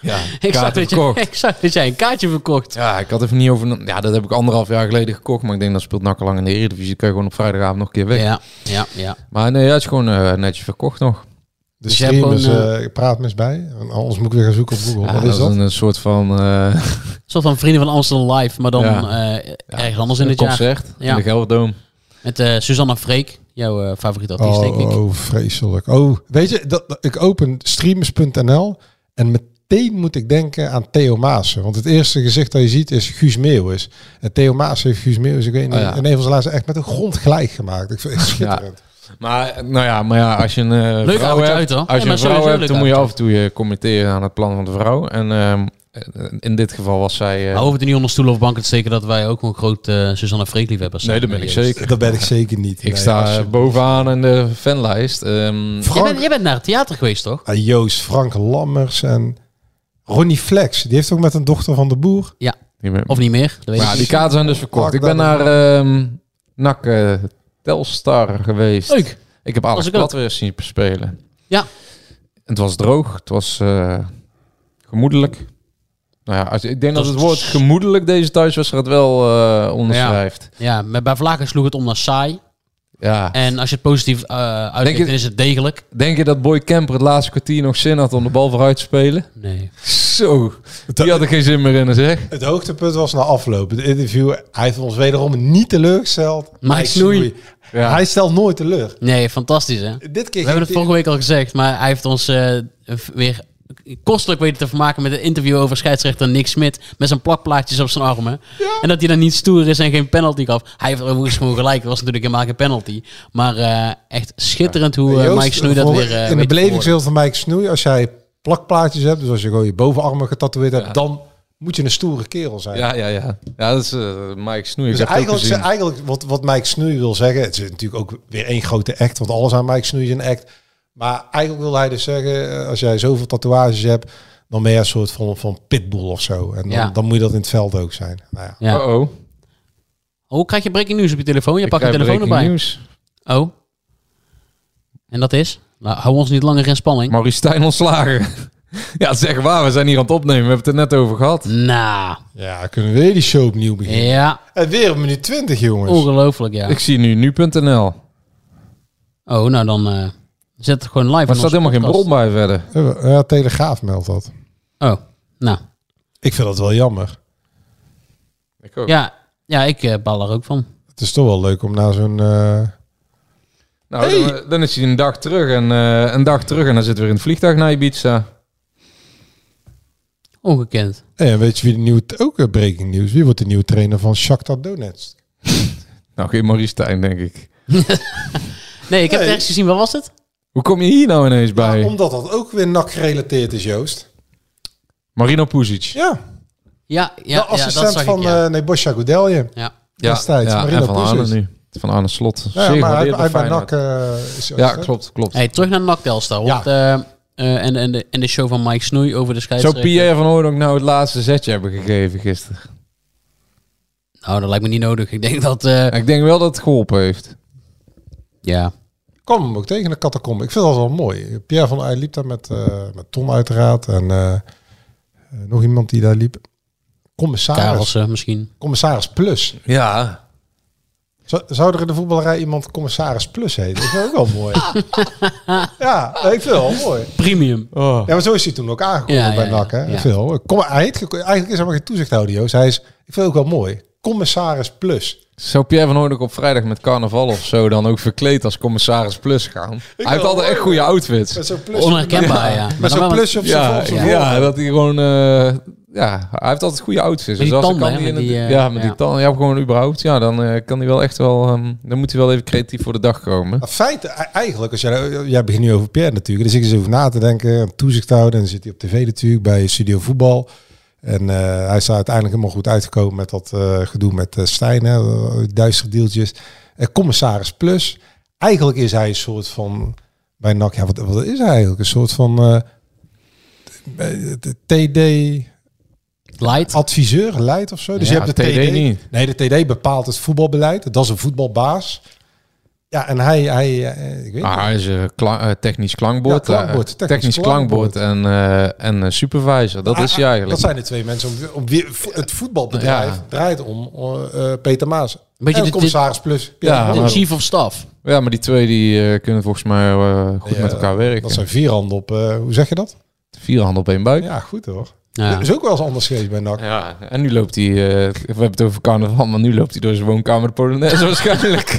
Ja, Ik zag, dat je, verkocht. ik zag dat jij een kaartje verkocht. Ja, ik had even niet over. Ja, dat heb ik anderhalf jaar geleden gekocht. Maar ik denk dat speelt NAC al lang in de Eredivisie. Dan kun je gewoon op vrijdagavond nog een keer weg. Ja, ja, ja. Maar nee, het is gewoon eh, netjes verkocht nog. De Dus jij hebt streamers gewoon, eh, praat mis bij. Anders moet ik weer gaan zoeken op Google. Ja, Wat is dat? Een, eh, soort van eh, Een soort van Vrienden van Amsterdam Live, maar dan Ja. eh, ergens anders in een het jaar. concert Ja. in de Gelderdoom. Met eh Susanna Freek, jouw eh, favoriete artiest, oh, denk ik. oh, vreselijk. Oh, weet je, dat, dat- ik open streamers.nl en meteen moet ik denken aan Theo Maassen. Want het eerste gezicht dat je ziet is Guus Meeuwis. En Theo Maassen heeft Guus Meeuwis, ik weet niet, Oh, ja. in een van zijn laatste echt met een grond gelijk gemaakt. Ik vind het schitterend. Maar eh, nou ja, maar ja, als je een eh, Leuk vrouw oudertje hebt, uit, hoor. als Ja, je maar een vrouw sowieso hebt, leuk dan moet je af en eh, oudertje toe je committeren aan het plan van de vrouw. En ehm, eh, in dit geval was zij... eh, Maar hoeven het niet onder stoelen of banken te steken dat wij ook een groot eh Susanne Freekliefhebbers nee, dat ben ik zeker. Dat ben ik zeker niet. Ik Nee, sta eh, alsjeblieft. bovenaan in de fanlijst. Ehm, Jij Frank- bent, jij bent naar het theater geweest, toch? Ah, Joost, Frank Lammers en Ronnie Flex. Die heeft ook met een dochter van de boer. die ben- Of niet meer? Dat weet Maar ja, ik die niet. kaarten zijn dus verkocht. Ik ben naar ehm NAC eh, Telstar geweest. Leuk. Ik heb Alex ik ook. Plat weer zien spelen. Ja. Het was droog. Het was eh, gemoedelijk. Nou ja, als, ik denk dat was- het woord gemoedelijk deze thuiswedstrijd wel eh onderschrijft. Ja, maar bij Vlaken sloeg het om naar saai. Ja. En als je het positief eh Denk uitlegt, je- dan is het degelijk. Denk je dat Boy Kemper het laatste kwartier nog zin had om de bal vooruit te spelen? Nee. Zo. Die had er geen zin meer in, zeg. Het hoogtepunt was na afloop. Het interview, hij heeft ons wederom niet teleurgesteld. Mike Mike Snoei. Snoei. Ja. Hij stelt nooit teleur. Nee, fantastisch hè. We Dit keer hebben het vorige week al gezegd, maar hij heeft ons eh, weer kostelijk weten te vermaken met een interview over scheidsrechter Nick Smit met zijn plakplaatjes op zijn armen. En dat hij dan niet stoer is en geen penalty gaf. Hij heeft overigens gewoon gelijk, er was natuurlijk helemaal geen penalty. Maar eh, echt schitterend hoe eh, Joost, Mike Snoei dat voor- weer... in eh, de weet te verwoorden. belevingswereld van Mike Snoei, als jij plakplaatjes hebt, dus als je gewoon je bovenarmen getatoeëerd hebt, dan moet je een stoere kerel zijn. Ja, ja, ja. Ja, dat is eh, Mike Snoei. Dus ik heb het ook eigenlijk, gezien. eigenlijk wat, wat Mike Snoei wil zeggen, het is natuurlijk ook weer één grote act, want alles aan Mike Snoei is een act. Maar eigenlijk wil hij dus zeggen, eh, als jij zoveel tatoeages hebt, dan ben je een soort van, van pitbull of zo. En dan, Ja. dan moet je dat in het veld ook zijn. Nou ja. Ja. Uh-oh. Hoe krijg je breaking news op je telefoon? Je Ik pakt je krijg telefoon breaking erbij. nieuws. Oh. En dat is? Nou, hou ons niet langer in spanning. Maurice Stijn ontslagen. ja, zeg waar. We zijn hier aan het opnemen. We hebben het er net over gehad. Nou, ja, kunnen we weer die show opnieuw beginnen. ja, En weer een minuut 20, jongens. ongelooflijk ja. Ik zie nu nu.nl. Oh, nou dan eh, zet het gewoon live Maar er in staat onze helemaal geen podcast. bron bij verder. Ja, Telegraaf meldt dat. Oh, nou. Ik vind dat wel jammer. Ik ook. Ja, ja ik eh bal er ook van. Het is toch wel leuk om naar zo'n... eh, Nou, dan, eh, dan is hij een dag terug en eh, een dag terug en dan zit weer in het vliegtuig naar Ibiza. Ongekend. Hey, en weet je wie de nieuwe... Ook eh, breaking news. Wie wordt de nieuwe trainer van Shakhtar Donetsk? Nou, geen Maurice Stijn, denk ik. Nee, ik heb het Nee. ergens gezien. Wat was het? Hoe kom je hier nou ineens bij? Omdat dat ook weer nak gerelateerd is, Joost. Marino Puzic. Ja, Ja, ja, de ja dat assistent zag van ik, ja. eh nee, Bosja Goedelje. ja. destijds, Marino en van Puzic. Arne nu. Van Arne Slot. Ja, Zeer maar hij, gewaardeerde hij bij Feyenoord. NAC eh, is Joost, Ja, hè? klopt, klopt. Hey, terug naar NAC Telstar. Ja. Want, eh, eh, en, en, de, en de show van Mike Snoei over de Zou scheidsrechter. Pierre van Hoornhoek nou het laatste zetje hebben gegeven gisteren? Nou, dat lijkt me niet nodig. Ik denk dat... eh, Ja, ik denk wel dat het geholpen heeft. ja. Ik kwam hem ook tegen in de catacombe. Ik vind dat wel mooi. Pierre van Eyck liep daar met, eh, met Tom uiteraard. En eh, eh, nog iemand die daar liep. Commissaris. Karelsen misschien. Commissaris Plus. Ja. Zou, zou er in de voetballerij iemand Commissaris Plus heten? Dat is ook wel mooi. ja, ik vind het wel mooi. Premium. Oh. Ja, maar zo is hij toen ook aangekomen Ja, ja, bij ja. NAC. Hè? Ja. Veel. Kom, hij heet, ge- eigenlijk is hij maar geen toezichthouder, Joost. Hij is, ik vind het ook wel mooi. Commissaris Plus. Zou Pierre van Hoornhoek op vrijdag met carnaval of zo dan ook verkleed als commissaris Plus gaan? hij heeft wel altijd echt goede outfits. Met zo'n plus. Onherkenbaar, ja. Maar Met dan wel zo'n een- plusje op zijn Ja, op zijn ja, voorhoofd. dat hij gewoon... eh, ja, hij heeft altijd goede outfits. Dus Met die als hij tanden, hè, in met het- die, eh, ja, met ja. die tanden. Ja, gewoon überhaupt. Ja, dan eh, kan hij wel echt wel... ehm, dan moet hij wel even creatief voor de dag komen. Maar feit, e- eigenlijk, als jij, jij begint nu over Pierre natuurlijk. Dus ik eens over na te denken, en toezicht houden. En dan zit hij op tv natuurlijk bij Studio Voetbal. En eh, hij is uiteindelijk helemaal goed uitgekomen met dat eh, gedoe met eh, Stijn. Hè, duistere deeltjes. En commissaris Plus. Eigenlijk is hij een soort van... Bij NAC, ja, wat, wat is hij eigenlijk? Een soort van eh, TD-adviseur, Light. leidt of zo. Dus Ja, je hebt de TD TD, niet. Nee, de TD bepaalt het voetbalbeleid. Dat is een voetbalbaas. Ja, en hij... hij eh, ik weet Maar niet. hij is eh, kla- eh, technisch klankbord. Ja, klankbord, eh, technisch technisch klankbord, en, eh, en eh, supervisor. Dat is hij eigenlijk. Ah, Dat zijn de twee mensen. Om, om wie- vo- het voetbalbedrijf Ja. draait om eh, eh, Peter Maas. Beetje en dit- commissaris plus. Ja, Van maar- Hoorn. Chief of Staff. Ja, maar die twee die eh, kunnen volgens mij eh, goed Ja, met elkaar Dat werken. zijn vier handen op. eh, hoe zeg je dat? Vier handen op één buik. Ja, goed hoor. Ja. Dat is ook wel eens anders geweest bij NAC. Ja, en nu loopt hij, eh, we hebben het over carnaval, maar nu loopt hij door zijn woonkamer de Polonaise waarschijnlijk.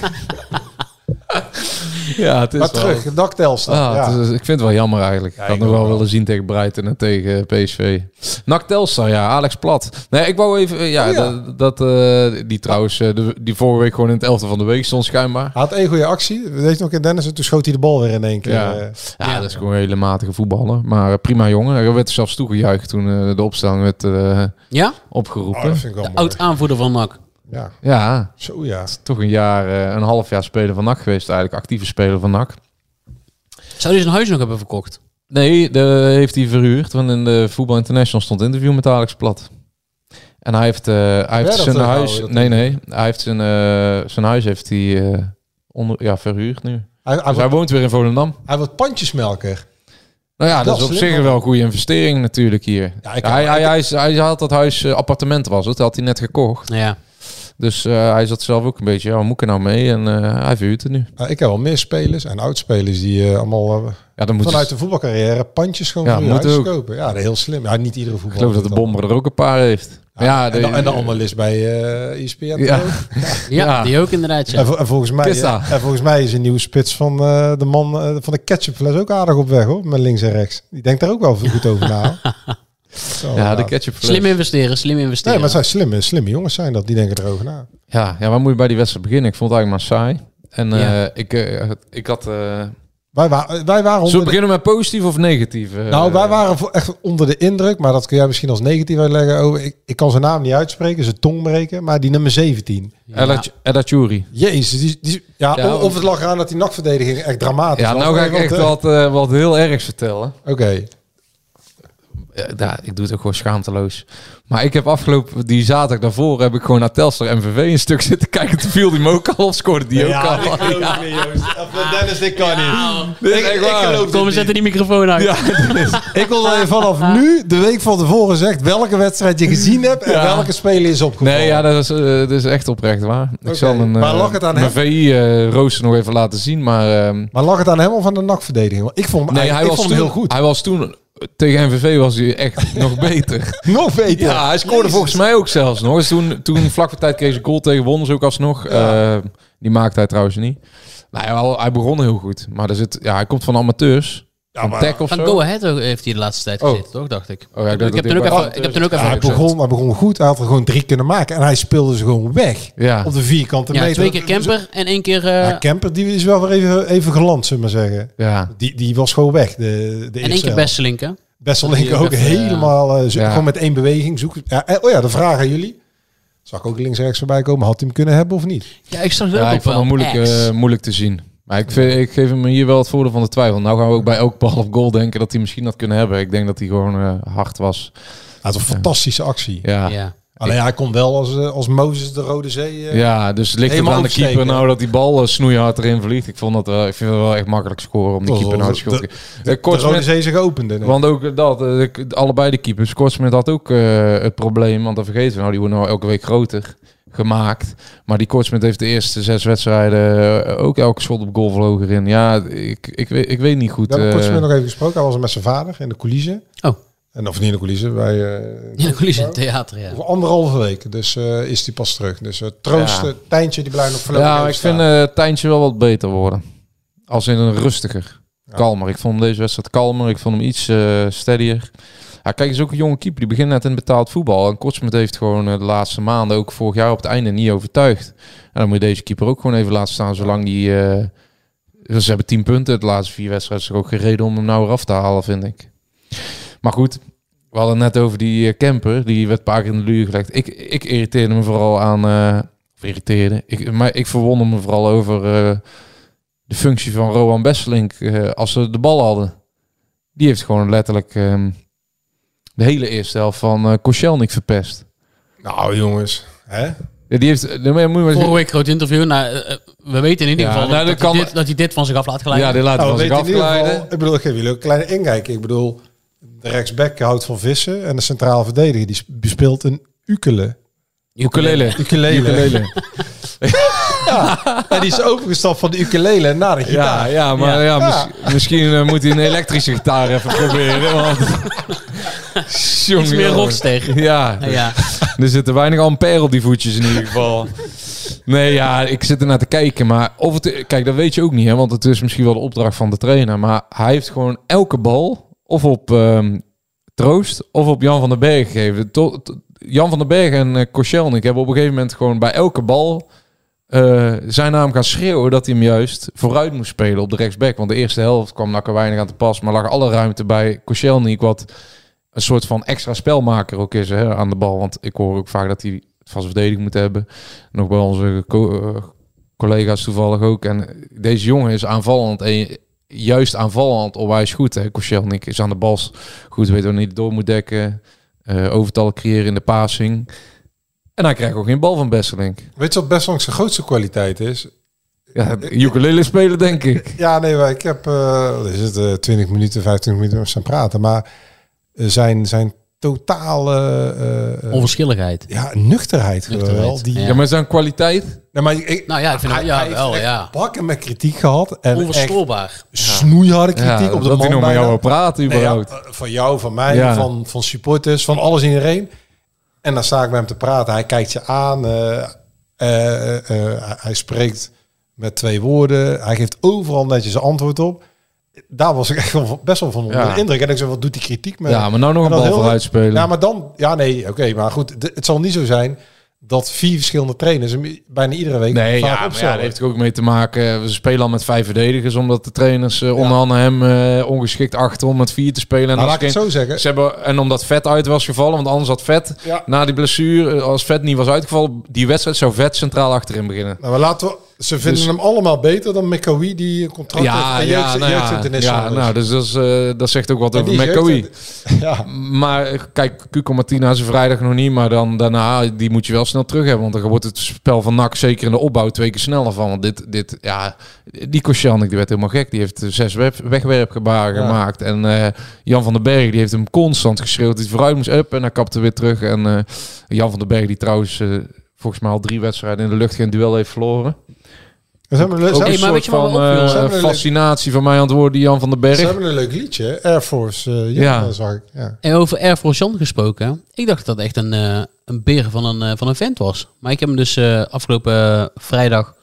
Ja, het is maar wel- terug, een daktelster. Ah, ja. het is- ik vind het wel jammer eigenlijk. ik Ja, had ik nog ook wel wel. willen zien tegen Breiten en tegen eh, PSV. Nak Telstar, ja. Alex Plat. Nee, ik wou even... eh, Ja, Oh, ja. dat, dat, eh, die trouwens... eh, de- die vorige week gewoon in het elfde van de week stond schijnbaar. Hij had één goede actie. Weet je nog in Dennis? En toen schoot hij de bal weer in één keer. Ja. eh. Ja, dat is gewoon een hele matige voetballer. Maar eh, prima jongen. Er werd zelfs toegejuicht toen eh, de opstelling werd eh, Ja? Oh, opgeroepen. dat vind ik wel mooi. Oud-aanvoerder van NAC. Ja. ja, Zo ja. het is toch een jaar, eh, een half jaar speler van NAC geweest eigenlijk. Actieve speler van NAC. Zou hij zijn huis nog hebben verkocht? Nee, de, heeft hij verhuurd. Want in de Voetbal International stond een interview met Alex Plat. En hij heeft, eh, hij heeft dat zijn terughouden, huis... dat Nee, nee. Hij heeft zijn, eh, zijn huis heeft hij, eh, onder, ja, verhuurd nu. Hij, hij, Dus hij wordt, woont weer in Volendam. hij wordt pandjesmelker. Nou ja, dat, Dat is op slim, zich man. wel een goede investering natuurlijk hier. Ja, ik- hij, ik- hij, hij, is- hij had dat huis, eh, appartement was het, had hij net gekocht. Ja. Dus eh, hij zat zelf ook een beetje, ja, wat moet ik er nou mee? En eh, hij verhuurt het nu. Nou, ik heb wel meer spelers en oudspelers die eh, allemaal eh, Ja, dan moet vanuit de voetbalcarrière pandjes gewoon Ja, voor hun moet huis ook. kopen. Ja, heel slim. Ja, niet iedere Ik voetballer. geloof dat de doet dat. bomber er ook een paar heeft. Ja, en, de, en de analist bij eh ESPN. Ja. ook. Ja, Ja. die ook inderdaad. Ja. En, vol- en volgens mij, eh, Kista. en volgens mij is een nieuwe spits van eh, de man eh, van de ketchupfles ook aardig op weg, hoor. Met links en rechts. Die denkt daar ook wel goed over na. hoor. Zo, ja, de nou. ketchup Slim investeren, slim investeren. Nee, maar het zijn slimme, slimme jongens zijn dat. Die denken erover na. Ja, ja, waar moet je bij die wedstrijd beginnen? Ik vond het eigenlijk maar saai. En eh, Ja. ik, eh, ik had... eh Wij, Zullen wa- wij waren we onder de- beginnen met positief of negatief? eh? Nou, wij waren vo- echt onder de indruk, maar dat kun jij misschien als negatief uitleggen. Oh, ik, ik kan zijn naam niet uitspreken, zijn tong breken, maar die nummer 17. Ella- Ella Tjouri. Jezus, die, die, ja, Ja, of, of het lag eraan dat die nachtverdediging echt dramatisch Ja, was. nou ga ik Want, echt eh, wat, eh, wat heel ergs vertellen. Oké, ja, daar- ik doe het ook gewoon schaamteloos. Maar ik heb afgelopen die zaterdag daarvoor heb ik gewoon naar Telstar MVV een stuk zitten kijken. Toen viel die me ook al of scoorde die ook al. Dennis, dit kan niet. Ik, echt waar. geloof Kom, we zetten die microfoon uit. Ik wil dat je vanaf nu, de week van tevoren, zegt welke wedstrijd je gezien hebt en Ja. welke speler is opgevallen. Nee, ja, dat is, eh, dat is echt oprecht waar. Ik Oké, zal een, maar eh, lag het aan mijn hem? VI-rooster nog even laten zien. Maar ehm, Maar lag het aan hem of aan de nachtverdediging? Want ik vond hem, nee, eigenlijk- ik hij was, vond toen, hem heel goed. hij was toen... Tegen MVV was hij echt nog beter. Nog beter. Ja, hij scoorde Jezus. volgens mij ook zelfs nog. Dus toen, toen vlak voor tijd kreeg ze een goal tegen Wonders ook alsnog. Eh, die maakte hij trouwens niet. Nou, hij, wel- hij begon heel goed. Maar er zit, ja, hij komt van amateurs. Ja, maar- Tech of Van zo. Go Ahead ook heeft hij de laatste tijd Oh. gezeten, toch? Dacht ik. Oh ja, ik ik, dacht heb dat toen ook hij bij- even, ik heb toen ook even Ja, hij, gezet. begon, hij begon goed. Hij had er gewoon drie kunnen maken. En hij speelde ze gewoon weg. Ja. Op de vierkante Ja, meter. twee keer Kemper en één keer... eh, Ja, Kemper die is wel weer even, even geland, zullen we maar zeggen. Ja. Die, die was gewoon weg. De, de en één eh, keer Besselink, hè? Besselink Die ook even, helemaal... eh, zo- Ja. Gewoon met één beweging. Zoek, ja, eh, oh ja, de vraag aan jullie. Zag ik ook links en rechts voorbij komen. Had hij hem kunnen hebben of niet? Ja, ik zag het Ja, ook ik op vond wel. het moeilijk, Ex. eh, moeilijk te zien. Maar ik, vind, ik geef hem hier wel het voordeel van de twijfel. Nou gaan we ook bij elk bal of goal denken dat hij misschien had kunnen hebben. Ik denk dat hij gewoon eh, hard was. Hij had een fantastische actie. Ja, ja. ja. Alleen hij kon wel als, eh, als Mozes de Rode Zee... eh, dus het ligt het Helemaal aan de opsteken. keeper nou dat die bal eh, snoeihard erin vliegt. Ik, vond dat, wel- ik vind het wel echt makkelijk scoren om die was keeper wel- nou te schokken. Oh, de- Eh, De Kortsmit- Rode Zee zich opende. Nee. Want ook dat, eh, de- allebei de keepers. Kortsmit had ook eh, het probleem, want dat vergeten we nou, die worden nou elke week groter gemaakt. Maar die Kortsmit heeft de eerste zes wedstrijden eh, ook elke schot op goal vlogen in. Ja, ik, ik, weet, ik weet niet goed. We hebben eh, Kortsmit nog even gesproken. Hij was met zijn vader in de coulissen. Oh. En, of niet in de coulissen, bij... eh, Ja, de coulissen in het theater, ja. Over anderhalve week, dus eh, is die pas terug. Dus eh, troost, Ja. eh, Tijntje, die blijft nog voorlopig ja, maar even ik staan. vind eh Tijntje wel wat beter worden. Als in een rustiger. Kalmer. Ik vond hem deze wedstrijd kalmer. Ik vond hem iets eh steadier. Ja, kijk, is ook een jonge keeper. Die begint net in betaald voetbal. En Kortsmit heeft gewoon eh, de laatste maanden, ook vorig jaar op het einde, niet overtuigd. En dan moet je deze keeper ook gewoon even laten staan. Zolang die... eh, ze hebben tien punten de laatste vier wedstrijden. Is er ook geen reden om hem nou eraf te halen, vind ik. Maar goed, we hadden het net over die eh, camper. Die werd een paar keer in de luur gelegd. Ik, ik irriteerde me vooral aan... eh, of irriteerde. Ik, maar ik verwonder me vooral over eh, de functie van Roan Besselink eh, als ze de bal hadden. Die heeft gewoon letterlijk ehm, de hele eerste helft van eh Koscielnik verpest. eh, Nou jongens, hè? Ja, die heeft... eh, maar ja, moet je maar Vorige week groot interview. Nou, eh, eh, we weten in ieder Ja, geval nou, dat, dat kan- hij dit, dat hij dit van zich af laat glijden. ja, die laten Nou, we we zich weten in ieder geval, afglijden. ik bedoel, ik geef jullie ook een kleine inkijk. Ik bedoel, de rechtsback houdt van vissen en de centraal verdediger die sp- bespeelt een ukele. Ukulele. Ukulele. Ukulele. en die is overgestapt van de ukulele naar de Ja, gitaar. ja, maar ja, Ja. mis- misschien eh, moet hij een elektrische gitaar even proberen. Want Jongen, Iets meer jongen. rockster. Ja. Nou ja. Er zitten weinig ampère op die voetjes in ieder geval. Nee, ja, ik zit ernaar te kijken. Maar of het, kijk, dat weet je ook niet, hè, want het is misschien wel de opdracht van de trainer. Maar hij heeft gewoon elke bal of op ehm, Troost of op Jan van den Berg gegeven. To- to- Jan van den Berg en uh, Koscielnik hebben op een gegeven moment gewoon bij elke bal eh, zijn naam gaan schreeuwen dat hij hem juist vooruit moest spelen op de rechtsback. Want de eerste helft kwam Nakker weinig aan te pas, maar lag alle ruimte bij Koscielnik, wat een soort van extra spelmaker ook is hè, aan de bal. Want ik hoor ook vaak dat hij vast verdediging moet hebben. Nog bij onze co- eh, collega's toevallig ook. En deze jongen is aanvallend en juist aanvallend onwijs goed. Hè. Koscielnik is aan de bal goed, weet wanneer hij door moet dekken. eh overtal creëren in de passing. En hij krijgt ook geen bal van Besselink. Weet je wat best lang zijn grootste kwaliteit is? Ja, ukulele spelen denk ik. Ja, nee, maar ik heb eh, wat is het, eh, 20 minuten, 25 minuten met zijn praten. Maar eh, zijn, zijn totale eh, eh, Onverschilligheid. ja, nuchterheid, gewoon Nuchterheid, wel. Die, ja. Ja, maar zijn kwaliteit... Nee, maar ik, Nou ja, ik vind hij, hem- ja, hij heeft wel, echt ja. bakken met kritiek gehad. En echt Onverstoorbaar. snoeiharde kritiek Ja, op de dat man hij nog met bijna. jou wil praten Nee, ja, überhaupt. eh, van jou, van mij, Ja. van, van supporters, van alles en iedereen. En dan sta ik met hem te praten. Hij kijkt je aan. eh, eh, eh, hij spreekt met twee woorden. Hij geeft overal netjes een antwoord op. Daar was ik echt wel van- best wel van onder Ja. de indruk. En ik zei, wat doet die kritiek met Ja, maar nou nog een En dan bal heel- vooruit spelen. Ja, maar dan... Ja, nee, oké. maar goed, d- het zal niet zo zijn dat vier verschillende trainers hem i- bijna iedere week Nee, vaak ja, maar ja, opstellen. daar heeft er ook mee te maken. We spelen al met vijf verdedigers, omdat de trainers eh, onder andere hem eh, ongeschikt achter om met vier te spelen. En, Nou, als laat ik het geen- zo zeggen. ze hebben, en omdat Vet uit was gevallen, want anders had Vet Ja. na die blessure, eh, als Vet niet was uitgevallen, die wedstrijd zou Vet centraal achterin beginnen. Nou, maar laten we... Ze vinden Dus- hem allemaal beter dan Mekawi die een contract ja, heeft. ja, nou ja, ja, nou, dus dat, is, eh, dat zegt ook wat En over die is McCoy. Ja. Maar eh, kijk, Cuco Martina is er vrijdag nog niet. Maar dan daarna, die moet je wel snel terug hebben. Want dan wordt het spel van NAC, zeker in de opbouw, twee keer sneller van. Want dit, dit ja, die Koscielnik, die werd helemaal gek. Die heeft eh, zes web- wegwerpgebaren Ja. gemaakt. En eh, Jan van den Berg, die heeft hem constant geschreeuwd. Die vooruit moest up en hij kapte weer terug. En eh, Jan van den Berg, die trouwens... eh, Volgens mij al drie wedstrijden in de lucht geen duel heeft verloren. Ze hebben, een, leuk- Ook ze een maar soort weet je wat me van opviel? eh, Ze hebben een leuk- fascinatie van mij aan het worden, die Jan van den hebben- ze Berg. hebben een leuk liedje, hè? Air Force. eh, ja, Ja. dat zag ik. Ja. En over Air Force One gesproken. hè. Ik dacht dat dat echt een, eh een beer van een, eh, van een vent was. Maar ik heb hem dus eh, afgelopen eh, vrijdag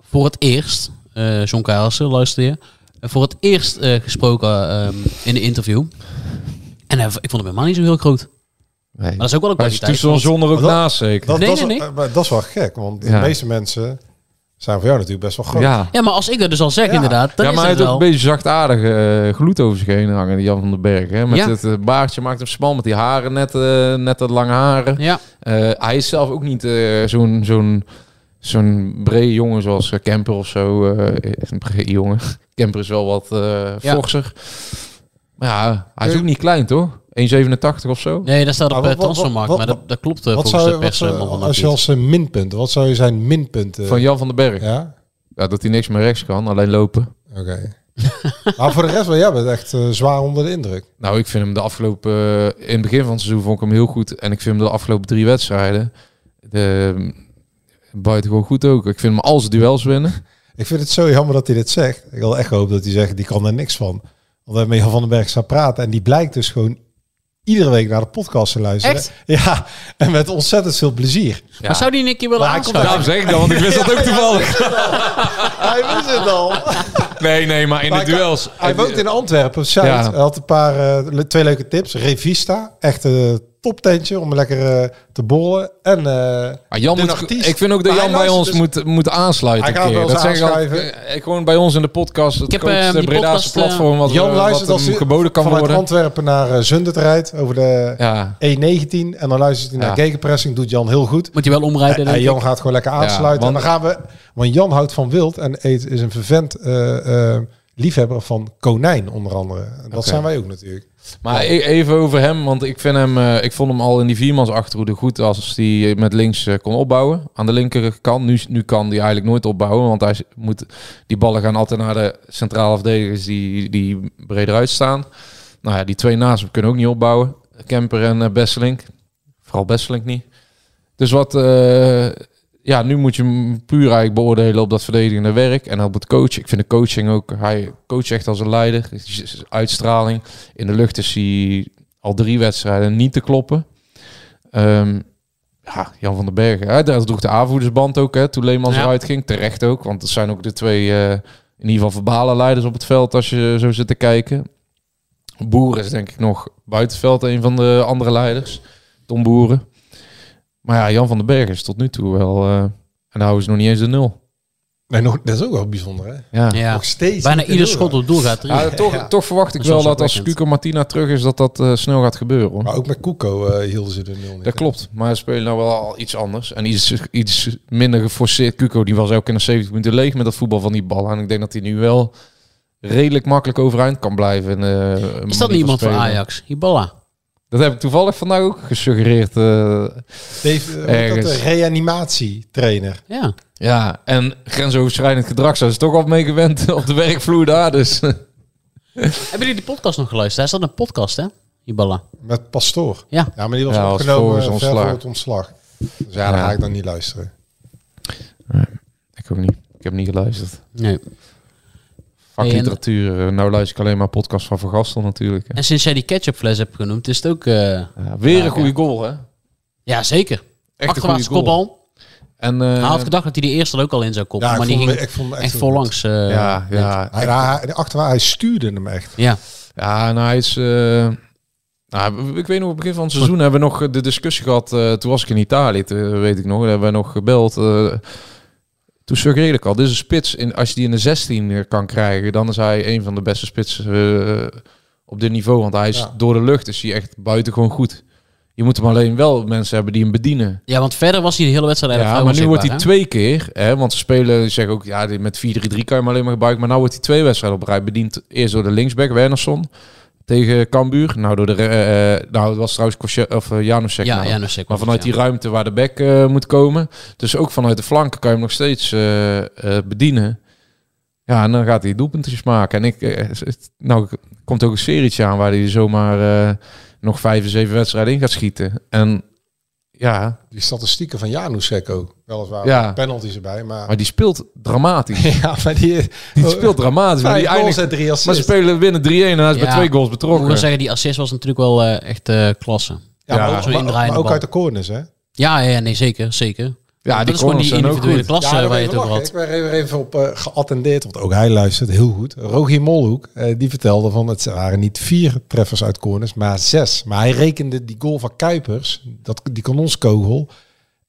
voor het eerst, eh John Kaalsen, luister je, eh, voor het eerst eh, gesproken ehm, in een interview. En hij- ik vond hem helemaal niet zo heel groot. Maar dat is ook wel een Hij is kwaliteit. tussen ons want- zonder ook Maar dat- naast zeker. Dat, Nee, dat, is- nee, nee. eh, maar dat is wel gek, want de Ja. meeste mensen zijn voor jou natuurlijk best wel groot. ja. Ja, maar als ik dat dus al zeg Ja. inderdaad, dan ja, is maar hij het heeft ook wel... een beetje zachtaardig eh gloed over zich heen hangen, die Jan van den Berg. Hè? Met Ja. het eh, baardje maakt hem smal, met die haren, net, eh, net dat lange haren. Ja, Eh, hij is zelf ook niet eh, zo'n zo'n zo'n brede jongen zoals eh, Kemper of zo. eh, is een brede jongen. Kemper is wel wat eh Ja. forser. Maar ja, hij is ook niet klein, toch? 1,87 of zo? nee, dat staat op Maar wat- eh, transfermarkt, wat- maar dat, dat klopt Wat eh, volgens zou, de je- wat pers zou, helemaal van als je als eh, minpunt, wat zou je zijn minpunt? eh, Van Jan van den Berg. Ja. ja? dat hij niks meer rechts kan, alleen lopen. Oké. maar voor de rest wel, jij bent echt eh, zwaar onder de indruk. Nou, ik vind hem de afgelopen... eh, in het begin van het seizoen vond ik hem heel goed. En ik vind hem de afgelopen drie wedstrijden... De, buitengewoon goed ook. Ik vind hem als duels winnen. Ik vind het zo jammer dat hij dit zegt. Ik had echt gehoopt dat hij zegt, die kan er niks van. Want we hebben met Jan van den Berg staan praten en die blijkt dus gewoon iedere week naar de podcast te luisteren. Echt? Ja, en met ontzettend veel plezier. Maar zou die een keer willen Maar hij komt aanschuiven? Daarom zeg ik dat, want ik wist dat ook toevallig. Hij wist het al. Nee, nee, maar in de Maar hij- duels. Hij woont in Antwerpen, Zuid. Ja. Hij had een paar, eh, le- twee leuke tips. Revista, echt een toptentje om lekker eh, te borrelen. En eh, Maar Jan de moet, artiest. ik vind ook dat Maar hij Jan bij ons luistert dus- moet, moet aansluiten. Hij een gaat keer. wel eens dat zeg ik altijd. aanschuiven. Ik gewoon bij ons in de podcast. Het Ik ik heb, heb, eh, de die Breda's podcast, eh, platform wat, Jan eh, luistert wat als hem hij geboden kan vanuit worden. Antwerpen naar eh, Zundert rijdt over de Ja. E19. En dan luistert hij naar Ja. gegenpressing. Doet Jan heel goed. Moet je wel omrijden, En denk Jan ik. gaat gewoon lekker aansluiten. want- en dan gaan we, want Jan houdt van wild en eet is een vervent eh, eh, liefhebber van konijn onder andere. En dat zijn wij ook natuurlijk. Maar e- even over hem, want ik, vind hem, eh, ik vond hem al in die viermans achterhoede goed als hij met links eh, kon opbouwen. Aan de linkerkant, nu, nu kan hij eigenlijk nooit opbouwen, want hij is- moet, die ballen gaan altijd naar de centrale verdedigers die, die breder uitstaan. Nou ja, die twee naast hem kunnen ook niet opbouwen. Kemper en eh, Besselink. Vooral Besselink niet. Dus wat, eh, ja, nu moet je hem puur eigenlijk beoordelen op dat verdedigende werk en op het coachen. Ik vind de coaching ook, hij coacht echt als een leider, uitstraling. In de lucht is hij al drie wedstrijden niet te kloppen. Ehm, ja, Jan van den Bergen. Hè, daar droeg de aanvoerdersband ook. Hè, toen Leemans Ja. eruit ging. Terecht ook. Want dat zijn ook de twee... eh, in ieder geval verbale leiders op het veld. Als je zo zit te kijken. Boer is denk ik nog buiten het veld. Een van de andere leiders. Tom Boeren. Maar ja, Jan van den Bergen is tot nu toe wel... eh, en nou is nog niet eens de nul. Nee, nog, dat is ook wel bijzonder, hè? Ja. Ja. Nog steeds Bijna niet te ieder doen, schot hoor. op doel gaat erin. Ja, toch, toch verwacht ik Dat is wel wel dat als zorgwekkend. Ah, Cuco Martina terug is, dat dat eh, snel gaat gebeuren. Hoor. Maar ook met Koeko eh, hielden ze de nul niet. Dat hè? klopt, maar ze spelen nou wel al iets anders. En iets, iets minder geforceerd. Cuco die was ook in de 70 minuten leeg met dat voetbal van die bal. En ik denk dat hij nu wel redelijk makkelijk overeind kan blijven. in, eh, een Is manier dat van niet iemand van spelen. Ajax? Hiballa. Dat heb ik toevallig vandaag ook gesuggereerd. eh, Dave, eh, hoe heet dat, Ergens. eh, reanimatietrainer. Ja. ja, en grensoverschrijdend gedrag zijn ze toch al mee gewend op de werkvloer daar. Dus Hebben jullie die podcast nog geluisterd? Hij is dat een podcast, hè? Hiballa. Met Pastoor. Ja. Ja, maar die was Ja, was voor opgenomen eh, zijn ver voor ontslag. het ontslag. Dus ja, dan Ja. ga ik dan niet luisteren. ik ook niet. Ik heb niet geluisterd. Nee. Hey, en- Vakliteratuur. eh, nou luister ik alleen maar podcasts van Van Gastel natuurlijk. hè. En sinds jij die ketchupfles hebt genoemd, is het ook... eh, Ja, weer Ja, een goede oké. goal, hè? ja, zeker. een Achterwaarts goede goal. kopbal. En, eh, Hij had gedacht dat hij die eerste er ook al in zou koppen. Ja, ik maar die vond ging hem- ik vond hem echt echt heel voorlangs. eh, ja, ja, Hij, hij, de achterwaar, hij stuurde hem echt. ja. Ja, en hij is. eh, nou, ik weet nog, op het begin van het seizoen hebben we nog eh, de discussie gehad. eh, toen was ik in Italië, toen, eh, weet ik nog. Daar hebben we nog gebeld. eh, toen suggereerde ik al, dit is een spits. In, als je die in de 16 weer kan krijgen, dan is hij een van de beste spitsen eh, op dit niveau. Want hij is Ja. door de lucht, is hij echt buitengewoon goed. Je moet hem alleen wel mensen hebben die hem bedienen. Ja, want verder was hij de hele wedstrijd Ja, eigenlijk maar nu vrijwel wordt hij onzichtbaar, twee keer, hè, want ze spelen, ze zeggen ook, ja, dit- met 4-3-3 kan je hem alleen maar gebruiken. Maar nu wordt hij twee wedstrijden op rij bediend. Eerst door de linksback Wernersson tegen Cambuur. Nou, door de, re- eh, eh, nou het was trouwens Kosje, of, eh, Janusek. Ja, nou. Janusek Maar was vanuit het, die ruimte waar de back eh, moet komen. Dus ook vanuit de flanken kan je hem nog steeds eh, eh, bedienen. Ja, en dan gaat hij doelpuntjes maken. En ik, eh, het- nou komt ook een serietje aan waar hij zomaar eh, nog vijf of zeven wedstrijden in gaat schieten. En ja, Die statistieken van Janusek ook. Weliswaar Ja. met penalties erbij, maar... maar die speelt dramatisch. ja, maar die... Die speelt dramatisch. Maar, die eindigt- en drie maar ze assists. spelen winnen 3-1 en hij is bij Ja. twee goals hè? Ik moet wel betrokken. zeggen, die assist was natuurlijk wel eh, echt eh, klasse. Ja, maar Ja. ook- Zo'n maar, indraaiende maar ook bal. uit de corners, hè? Ja, ja, ja, nee, zeker, zeker. Ja, dat die is gewoon corners die zijn ook individuele goed. klasse daar waar ben je het over lachen. had. Ik ben er even- even op eh, geattendeerd, want ook hij luistert heel goed. Rogier Molhoek, eh, die vertelde van het waren niet vier treffers uit corners, maar zes. Maar hij rekende die goal van Kuipers, dat, die kanonskogel,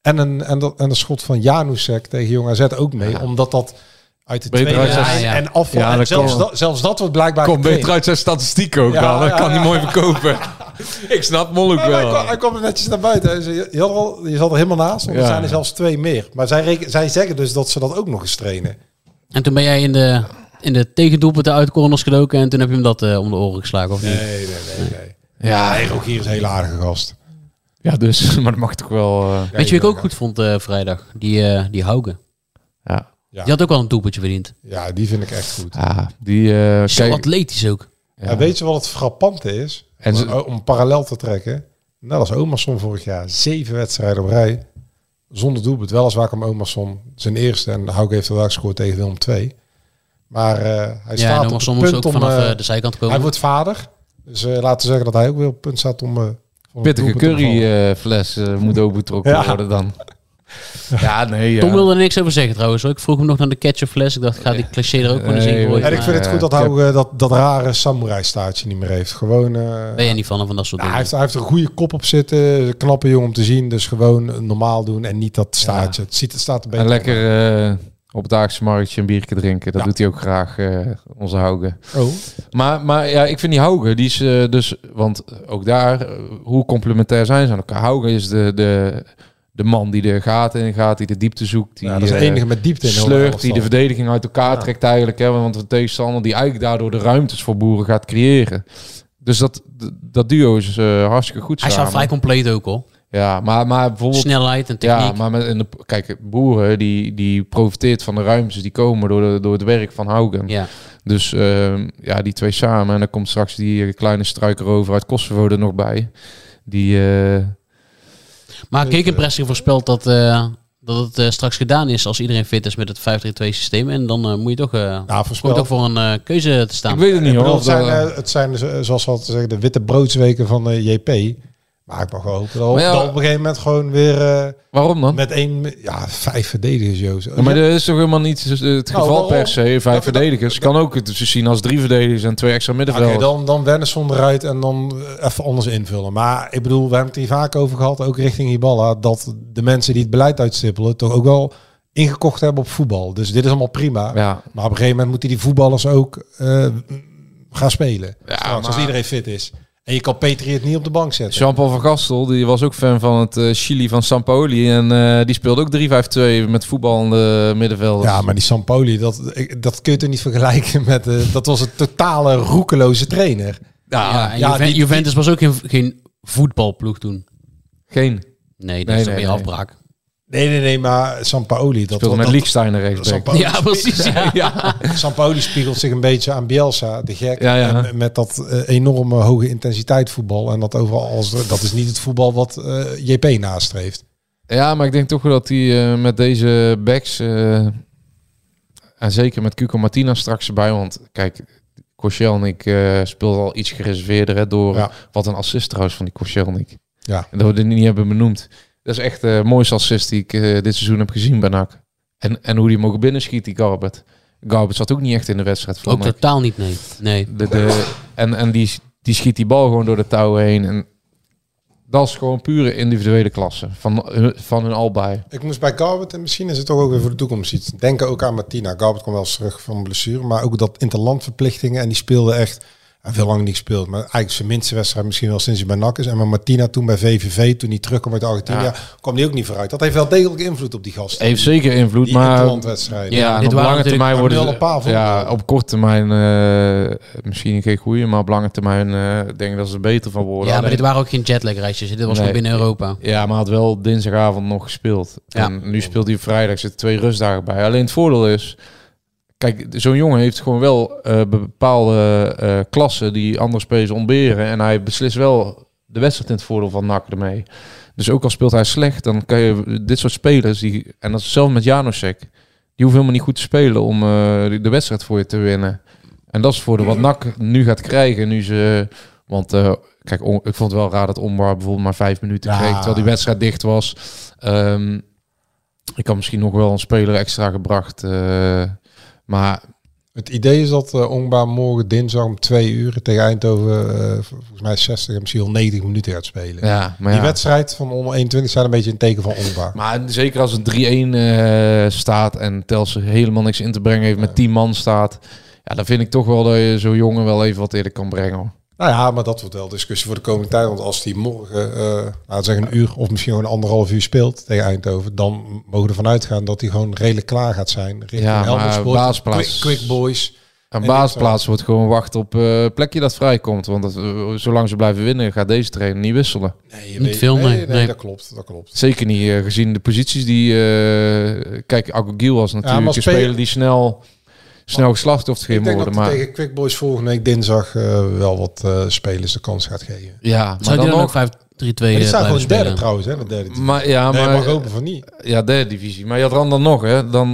en een, en, dat, en een schot van Janusek tegen Jong AZ ook mee. Omdat dat uit de Beter tweede uit zijn- lijn Ja, ja. en afval. Ja, en dat zelfs, kan. dat, zelfs dat wordt blijkbaar Komt getraind. beter uit zijn statistiek ook Ja, dan. Dat ja, kan hij ja. mooi verkopen. ik snap Molloek Ja, maar Oh, Hij kwam, wel. hij kwam er netjes naar buiten. Hij zei, Je, had er al, je zat er helemaal naast, want er Ja. zijn er zelfs twee meer. Maar zij, reken- zij zeggen dus dat ze dat ook nog eens trainen. En toen ben jij in de, in de tegendoelpunten uit corners gedoken en toen heb je hem dat eh, om de oren geslagen, of niet? Nee, nee, nee. nee. Ja, Nee, Rogier is een hele aardige gast. ja, dus. Maar dat mag toch wel... eh, Weet je wie ik ook goed vond eh, vrijdag? Die, eh, die Haugen. ja. Ja. Die had ook wel een doelpuntje verdiend. Ja, die vind ik echt goed. ja, die... eh, Zo kijk, atletisch ook. ja. En weet je wat het frappante is? En Om- ze- om parallel te trekken. Nou, Net als Omerson vorig jaar. Zeven wedstrijden op rij. Zonder doelpunt. Weliswaar kwam Omerson zijn eerste. En Hauk heeft vandaag gescoord tegen Willem II. Maar eh, hij ja, staat en op was het soms punt ook om... vanaf eh, eh, de zijkant hij komen. wordt vader. Dus eh, laten we zeggen dat hij ook weer op het punt staat om... eh, van het pittige doelpunt te bevallen. curryfles eh, moet ook betrokken Ja. worden dan. Ja, nee. eh, Ja. Tom wilde er niks over zeggen trouwens. hoor. Ik vroeg hem nog naar de ketchupfles. Ik dacht, ga die cliché er ook gewoon eens in Nee, gooien. En ik Maar vind het Ja, goed dat ik hij ook, eh, dat, dat rare samurai staartje niet meer heeft. Gewoon... eh, Ben je niet van hem, van dat soort Nou, dingen? hij, heeft, hij heeft een goede kop op zitten. Een knappe jongen om te zien. Dus gewoon normaal doen en niet dat staartje. Het, ziet, het staat er beter En op. lekker eh, op het Haagse marktje een biertje drinken. Dat Ja. doet hij ook graag, eh, onze Haugen. Oh. Maar, maar ja, ik vind die Haugen, die is eh, dus, want ook daar, eh, hoe complementair zijn ze aan elkaar? Haugen is de, de, de man die de gaten in gaat, die de diepte zoekt, die Ja, dat is de eh, enige met diepte in heel sleurt, elftal. die de verdediging uit elkaar trekt eigenlijk. Hè, want de tegenstander die eigenlijk daardoor de ruimtes voor boeren gaat creëren. Dus dat, dat duo is eh, hartstikke goed Hij staat samen. vrij compleet ook hoor. Ja, maar, maar bijvoorbeeld Snelheid en techniek. ja, maar met, in de, kijk, boeren die, die profiteert van de ruimtes die komen door, de, door het werk van Haugen. Ja. Dus ehm, ja, die twee samen. En dan komt straks die eh, kleine struiker over uit Kosovo er nog bij. Die, eh, Maar Kekenpressing voorspelt dat eh, dat het eh, straks gedaan is als iedereen fit is met het 5-3-2 systeem. En dan eh, moet je toch, eh, Nou, kom je toch voor een eh, keuze te staan. Ik weet het niet Ik hoor. bedoel, of het, zijn, dat- eh, het zijn, eh, zoals we altijd zeggen, de witte broodsweken van eh, JP. Maar ik mag wel hopen dat, Maar ja, dat op een gegeven moment gewoon weer eh, waarom dan? met één, ja, vijf verdedigers, Joost. Ja, maar dat is toch helemaal niet het geval Nou, waarom? per se. Vijf Dat- dat- verdedigers. kan ook het zien als drie verdedigers en twee extra Oké, middenvelders. dan, dan Wennison eruit en dan eh, even anders invullen. Maar ik bedoel, we hebben het hier vaak over gehad, ook richting Hiballa, dat de mensen die het beleid uitstippelen toch ook wel ingekocht hebben op voetbal. Dus dit is allemaal prima. Ja. Maar op een gegeven moment moeten die voetballers ook eh, gaan spelen. Ja, Straks, Als maar- iedereen fit is. En je kan Petri het niet op de bank zetten. Jean-Paul van Gastel, die was ook fan van het eh, Chili van Sampoli. En eh, die speelde ook 3-5-2 met voetballende middenvelders. Ja, maar die Sampoli, dat, ik- dat kun je toch niet vergelijken met... eh, dat was een totale roekeloze trainer. Ja, ja, en ja, Juven- die- Juventus was ook geen, geen voetbalploeg toen. Geen. Nee, dat Nee, is toch nee, weer nee. afbraak. Nee, nee, nee, maar Sampaoli... Dat, speelde dat, met dat, Lieksteiner rechtsback. Sampaoli- Ja, precies. Ja. Sampaoli spiegelt zich een beetje aan Bielsa, de gek. Ja, ja. En met dat eh, enorme hoge intensiteit voetbal. En dat overal als... eh, Dat is niet het voetbal wat eh, JP nastreeft. Ja, maar ik denk toch wel dat hij eh, met deze backs... eh, en zeker met Cuco Martina straks erbij. Want kijk, Koscielnik eh speelde al iets gereserveerder hè, door... Ja. Wat een assist trouwens van die Koscielnik. Ja. En dat we dit niet hebben benoemd. Dat is echt de mooiste assist die ik eh, dit seizoen heb gezien bij NAC. En, en hoe die mogen binnenschiet, die Garbert. Garbert zat ook niet echt in de wedstrijd. Ook vond ik. totaal niet, nee. nee. De, de, en en die, die schiet die bal gewoon door de touwen heen. En dat is gewoon pure individuele klasse. Van, hun- van hun albei. Ik moest bij Garbert, en misschien is het toch ook weer voor de toekomst iets. Denken ook aan Martina. Garbert kwam wel eens terug van blessure, maar ook dat interlandverplichtingen. En die speelde echt, hij veel lang niet gespeeld, maar eigenlijk zijn minste wedstrijd misschien wel sinds hij bij NAC is. En met Martina toen bij VVV, toen hij terugkwam uit Argentinië, Ja. kwam die ook niet vooruit. Dat heeft wel degelijk invloed op die gasten. Heeft zeker invloed, die maar... interlandwedstrijden. dit Ja, en op waren lange natuurlijk- termijn Maar nu worden al een paar ze, voor. ja, op korte termijn eh, misschien geen goede, maar op lange termijn eh, denk ik dat ze er beter van worden. Ja, maar Alleen- dit waren ook geen jetlag reisjes. Dit was Nee. gewoon binnen Europa. Ja, maar had wel dinsdagavond nog gespeeld. Ja. En nu speelt hij vrijdag, zitten twee rustdagen bij. Alleen het voordeel is, kijk, zo'n jongen heeft gewoon wel eh, bepaalde eh, klassen die andere spelers ontberen. En hij beslist wel de wedstrijd in het voordeel van NAC ermee. Dus ook al speelt hij slecht, dan kan je dit soort spelers, die, en dat is hetzelfde met Janosek, die hoeven helemaal niet goed te spelen om eh, de wedstrijd voor je te winnen. En dat is het voordeel wat NAC nu gaat krijgen, nu ze... Want eh, kijk, On- ik vond het wel raar dat Omar bijvoorbeeld maar vijf minuten Ja. kreeg, terwijl die wedstrijd dicht was. Ehm, ik had misschien nog wel een speler extra gebracht. eh, maar Het idee is dat eh Ongba morgen dinsdag om twee uur tegen Eindhoven, eh, volgens mij 60 en misschien wel 90 minuten gaat spelen. ja, maar Die ja. wedstrijd van onder 21 staat een beetje een teken van Ongba. Maar zeker als het 3-1 eh, staat en Telsen helemaal niks in te brengen heeft, met 10 man staat. Ja, dan vind ik toch wel dat je zo'n jongen wel even wat eerder kan brengen. Hoor. Nou ja, maar dat wordt wel discussie voor de komende tijd. Want als die morgen, eh laten we zeggen een uur of misschien gewoon anderhalf uur speelt tegen Eindhoven, dan mogen we ervan uitgaan dat hij gewoon redelijk klaar gaat zijn. Richting Ja, maar Helmond baasplaats- Quick, Quick Boys. Een En baasplaats wordt gewoon wachten op eh, plekje dat vrijkomt. Want dat, eh, zolang ze blijven winnen, gaat deze trainer niet wisselen. Nee, Niet veel, nee, nee. dat klopt, dat klopt. Zeker niet eh, gezien de posities die... eh, kijk, Agogiel was natuurlijk maar een spelen- speler die snel, snel geslachtoffer Ik ging denk worden. dat hij Maar, tegen Quick Boys volgende week dinsdag eh, wel wat eh, spelers de kans gaat geven. ja, maar Zou dan die dan ook nog... 5-3-2 eh, Maar die staat blijven gewoon derde spelen? trouwens, hè? De derde titel. Maar, ja, nee, maar, eh, mag open van niet. Ja, derde divisie. Maar Jadran dan nog, hè? Dan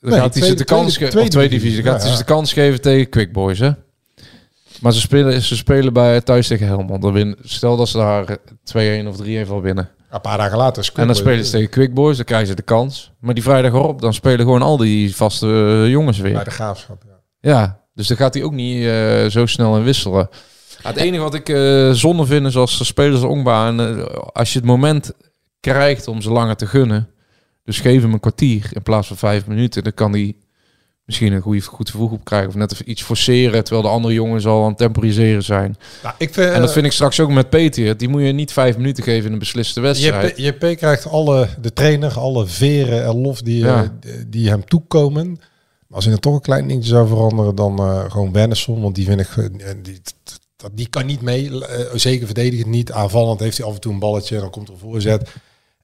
Nee, gaat hij ze tweede- de kans tweede- geven. Of tweede divisie. Dan Ja, gaat hij ja. ze de kans geven tegen Quick Boys, hè? Maar ze spelen, ze spelen bij thuis tegen Helmond. Dan win, stel dat ze daar 2-1 of 3-1 van winnen. Een paar dagen later. is Quick en dan Boys- spelen ze tegen Quick Boys, dan krijgen ze de kans. Maar die vrijdag erop, dan spelen gewoon al die vaste eh, jongens bij weer. de graafschap. Ja. Ja, dus dan gaat hij ook niet eh, zo snel in wisselen. Ja, het enige wat ik eh, zonde vind is als de spelers Ongba en eh, als je het moment krijgt om ze langer te gunnen, dus geef hem een kwartier in plaats van vijf minuten, dan kan hij misschien een goede, goed vervoeg op krijgen of net even iets forceren, terwijl de andere jongens al aan het temporiseren zijn. Nou, ik vind, en dat vind ik straks ook met Peter, die moet je niet vijf minuten geven in een besliste wedstrijd. JP, JP krijgt alle, de trainer, alle veren en lof die, Ja. eh, d- die hem toekomen. Maar als hij dan toch een klein dingetje zou veranderen, dan eh, gewoon Wennison. Want die vind ik, eh, die, dat- die kan niet mee. Eh, zeker verdedigend niet. Aanvallend heeft hij af en toe een balletje en dan komt er een voorzet.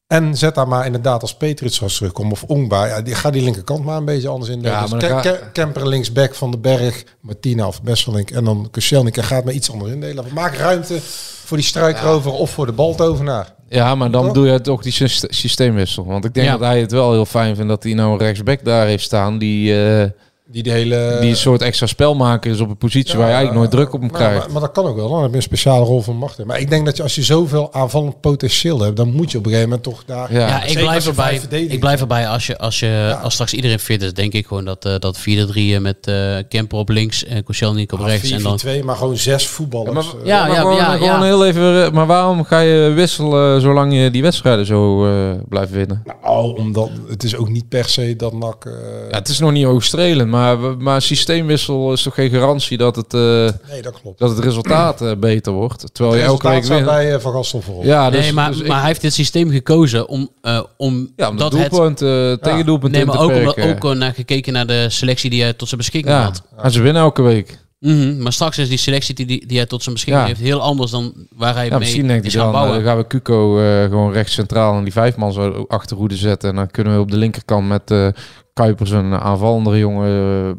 En zet daar maar inderdaad als Petrits als terugkomt of Ongba. Ja, die, ga die linkerkant maar een beetje anders in. Ja, Ja, dus maar dan Ke- ga- Ke- Kemper linksback van de Berg, Martina of Besselink en dan Kuselnik. En gaat maar iets anders indelen. Of Maak ruimte voor die struikrover of voor de baltovenaar. Ja, maar dan Toch? doe je toch die syste- systeemwissel. Want ik denk Ja. dat hij het wel heel fijn vindt dat hij nou een rechtsback daar heeft staan. Die, eh, Die de hele... die een soort extra spelmaker is op een positie waar je eigenlijk nooit druk op hem Nou, krijgt. Maar, maar dat kan ook wel. Dan heb je een speciale rol van macht. Maar ik denk dat je als je zoveel aanvallend potentieel hebt, dan moet je op een gegeven moment toch daar. Ja. Ja, ik Zeker als blijf, je erbij, vijf verdedigers ik blijf erbij. Als, je, als, je, als straks iedereen fit is, denk ik gewoon dat, eh, dat 4-3 met eh Kemper op links, en Koscielny op rechts. En dan, 4-4-2, maar gewoon zes voetballers. Ja, Eh, ja, maar ja, gewoon, ja, gewoon ja. heel even. eh, Maar waarom ga je wisselen zolang je die wedstrijden zo eh, blijft winnen? Nou, omdat het is ook niet per se dat NAC... eh, Ja, het is nog niet oogstrelend, maar, we- maar systeemwissel is toch geen garantie dat het, eh, nee, dat klopt. dat het resultaat eh, beter wordt. Terwijl je elke Resultaat week staat wint. bij eh, Van Gastel voorop. Ja, dus, nee, maar, dus ik- maar hij heeft dit systeem gekozen om, eh, om ja, om dat dat het... doelpunt, eh tegen doelpunt Nee, in maar te ook, omdat, perken. ook eh, naar gekeken naar de selectie die hij tot zijn beschikking ja, had. en ze winnen elke week. Mhm, maar straks is die selectie die, die, die hij tot zijn beschikking Ja. heeft heel anders dan waar hij Ja, mee misschien denkt is hij gaan dan, eh, dan bouwen. gaan we Cuco eh, gewoon rechts centraal en die vijfman zo achterhoede zetten. En dan kunnen we op de linkerkant met eh, Kuipers een aanvallende jongen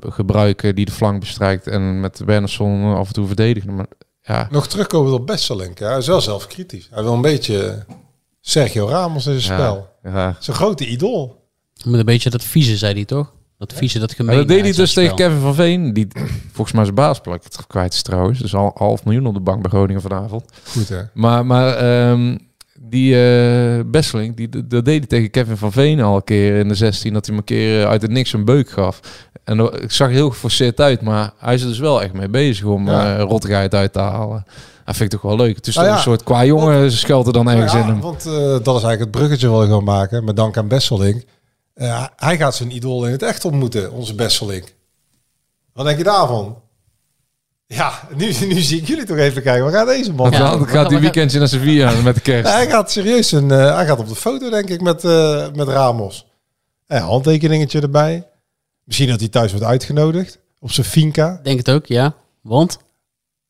eh, gebruiken die de flank bestrijkt. En met Bernersson af en toe verdedigen. Maar ja, Nog terugkomen op Besselink. hè. Hij is wel zelfkritisch. Hij wil een beetje Sergio Ramos in zijn spel. ja, ja. Zijn grote idool. Met een beetje dat vieze, zei hij toch? Dat vieze, dat Maar gemeen. dat deed hij dus tegen Kevin van Veen, die volgens mij zijn baasplek kwijt is trouwens. Dus al half miljoen op de bank bij Groningen vanavond. Goed hè. Maar, maar ehm, die eh Besseling, die, dat deed hij tegen Kevin van Veen al een keer in de 16. Dat hij hem een keer eh, uit het niks een beuk gaf. En dat, ik zag er heel geforceerd uit, maar hij is er dus wel echt mee bezig om Ja. eh, rottigheid uit te halen. Dat vind ik toch wel leuk. Het is Nou toch ja. een soort qua jongen schuilt er dan ergens Nou in ja, hem. Want eh, dat is eigenlijk het bruggetje wat ik wil maken. Met dank aan Besselink. Eh, hij gaat zijn idool in het echt ontmoeten, onze Besselink. Wat denk je daarvan? Ja, nu, nu zie ik jullie toch even kijken. Waar gaat deze man? Want Ja, dan maar- gaat die maar- weekendje naar Sevilla met de kerst. Hij gaat serieus een, eh, hij gaat op de foto, denk ik, met, eh, met Ramos. En handtekeningetje erbij. Misschien dat hij thuis wordt uitgenodigd. Op zijn finca. Denk het ook, ja. Want?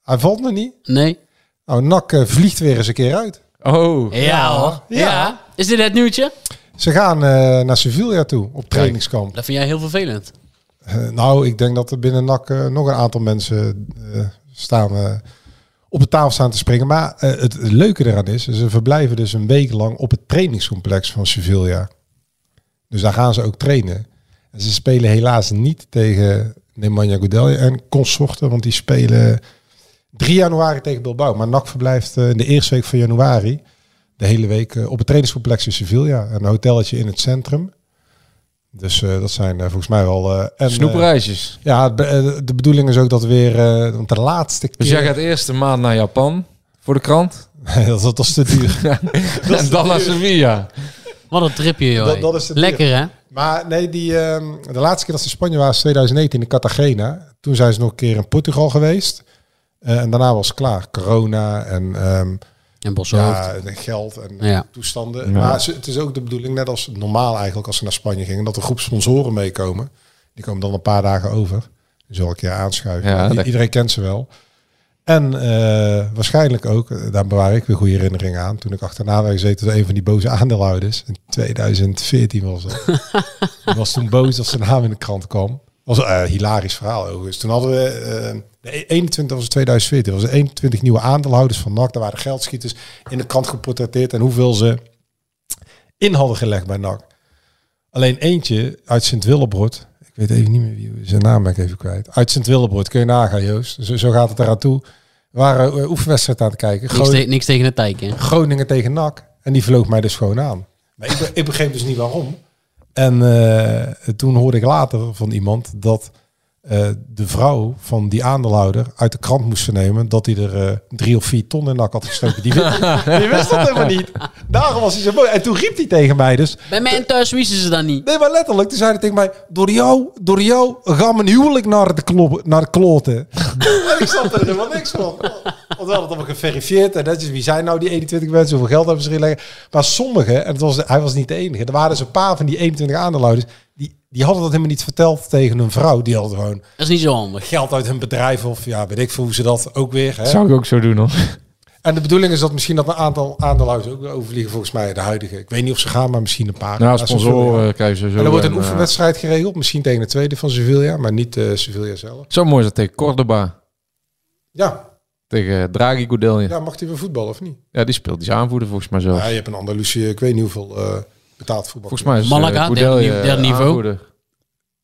Hij valt nog niet. Nee. Nou, Nak eh, vliegt weer eens een keer uit. Oh, Ja, hoor. Ja. Ja. Is dit het nieuwtje? Ze gaan eh, naar Sevilla toe op trainingskamp. Dat vind jij heel vervelend. Eh, nou, ik denk dat er binnen NAC eh, nog een aantal mensen eh, staan, eh, op de tafel staan te springen. Maar eh, het leuke eraan is, ze verblijven dus een week lang op het trainingscomplex van Sevilla. Dus daar gaan ze ook trainen. En ze spelen helaas niet tegen Nemanja Godelje en consorten, want die spelen 3 januari tegen Bilbao. Maar NAC verblijft eh, in de eerste week van januari de hele week eh, op het trainingscomplex in Sevilla. Een hotelletje in het centrum. Dus eh, dat zijn eh, volgens mij wel... eh en, eh, snoepreisjes. ja, het be- eh, de bedoeling is ook dat weer, eh, want de laatste keer, Dus jij gaat eerst een maand naar Japan voor de krant. dat, dat is te duur. en dan naar Sevilla. Wat een tripje, joh. Dat- dat is het Lekker, hè? maar nee, die, ehm, de laatste keer dat ze in Spanje waren, is 2019 in Cartagena. Toen zijn ze nog een keer in Portugal geweest. Eh, en daarna was het klaar. Corona en ehm, En Boshoofd. ja, en geld en Ja. toestanden. Maar ze- het is ook de bedoeling, net als normaal eigenlijk als ze naar Spanje gingen, dat een groep sponsoren meekomen. Die komen dan een paar dagen over. Die zal ik je aanschuiven. Ja, I- lekker. Iedereen kent ze wel. En eh, waarschijnlijk ook, eh, daar bewaar ik weer goede herinneringen aan, toen ik achterna werd gezeten door een van die boze aandeelhouders. In 2014 was dat. Die was toen boos dat zijn naam in de krant kwam. was een eh, hilarisch verhaal overigens. Toen hadden we, eh, de 21 was het 2014, was er 21 nieuwe aandeelhouders van NAC. Daar waren geldschieters in de krant geportretteerd en hoeveel ze in hadden gelegd bij NAC. Alleen eentje uit Sint-Willebroord. Ik weet even niet meer wie zijn naam ben ik even kwijt. Uit Sint-Willebroord, kun je nagaan Joost. Zo, zo gaat het eraan toe. We waren eh, oefenwedstrijd aan het kijken. Niks, Gro- te- niks tegen het tijk, hè? Groningen tegen NAC. En die vloog mij dus gewoon aan. Maar ik, be- ik begreep dus niet waarom. En eh, toen hoorde ik later van iemand dat eh, de vrouw van die aandeelhouder uit de krant moest vernemen dat hij er eh, drie of vier ton in NAC had gestoken. Die wist, die wist dat helemaal niet. Daarom was hij zo mooi. En toen riep hij tegen mij dus, Bij mij thuis wisten ze dat niet. Nee, maar letterlijk. Toen zei hij tegen mij: Door jou, door jou gaan mijn huwelijk naar de, klop, naar de kloten. en ik snap er helemaal niks van. Want we hadden het allemaal geverifieerd. En dat is wie zijn nou die 21 mensen? Hoeveel geld hebben ze erin leggen? Maar sommigen, en het was, hij was niet de enige. Er waren dus een paar van die 21 aandeelhouders. Die, die hadden dat helemaal niet verteld tegen hun vrouw. Die hadden gewoon Dat is niet zo handig. geld uit hun bedrijf. Of ja, weet ik veel hoe ze dat ook weer. Hè? Zou ik ook zo doen hoor. En de bedoeling is dat misschien dat een aantal aandeelhouders ook weer overvliegen, volgens mij de huidige. Ik weet niet of ze gaan, maar misschien een paar. Nou, Maar zoveel, ja. sponsoren krijgen ze zo. En er wordt een eh, oefenwedstrijd geregeld, misschien tegen de tweede van Sevilla, maar niet eh Sevilla zelf. Zo mooi is dat tegen Cordoba. Ja, Tegen Draghi Goudelje. Ja. ja mag hij weer voetballen of niet? die speelt. Die is aanvoerder volgens mij zo. Ja, je hebt een Andalusië, ik weet niet hoeveel eh, betaald voetbal. volgens mij is Malaga, eh, derde Goudelje nive- derde niveau. aanvoerder.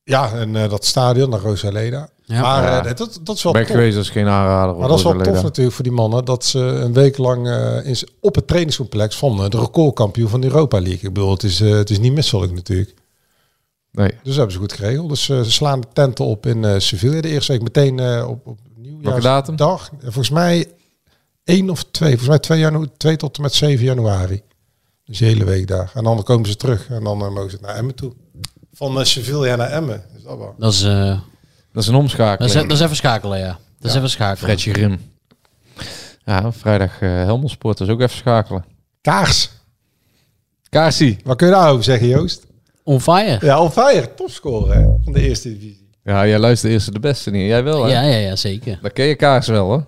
Ja, en eh, dat stadion, naar Rosaleda. Ja. Maar Ja. eh, dat, dat is wel Ben tof. geweest als geen aanrader. Maar dat is wel Rosaleda. tof natuurlijk voor die mannen dat ze een week lang eh, is op het trainingscomplex van eh, de recordkampioen van de Europa League. Ik bedoel, het is, eh, het is niet misselijk natuurlijk. Nee. Dus dat hebben ze goed geregeld. Dus eh, ze slaan de tenten op in eh Sevilla. De eerste week meteen eh, op, op datum? nieuwjaarsdag. Eh, Volgens mij 1 of 2. Volgens mij 2, janu- 2 tot en met 7 januari. Dus de hele week daar. En dan komen ze terug. En dan eh, mogen ze naar Emmen toe. Van eh, Sevilla naar Emmen. Is dat wel? Dat is, eh, Dat is een dat, omschakeling. is, dat is even schakelen, ja. Dat is even schakelen. Fredje Rim. Ja, vrijdag eh Helmelsport. Dat is ook even schakelen. Kaars. Kaarsie. Wat kun je daarover zeggen, Joost? On fire. Ja, on fire. Topscorer hè, van de eerste divisie. Ja, jij luistert eerst de beste niet. Jij wel, hè? Ja, ja, ja, zeker. Dan ken je Kaars wel, hoor.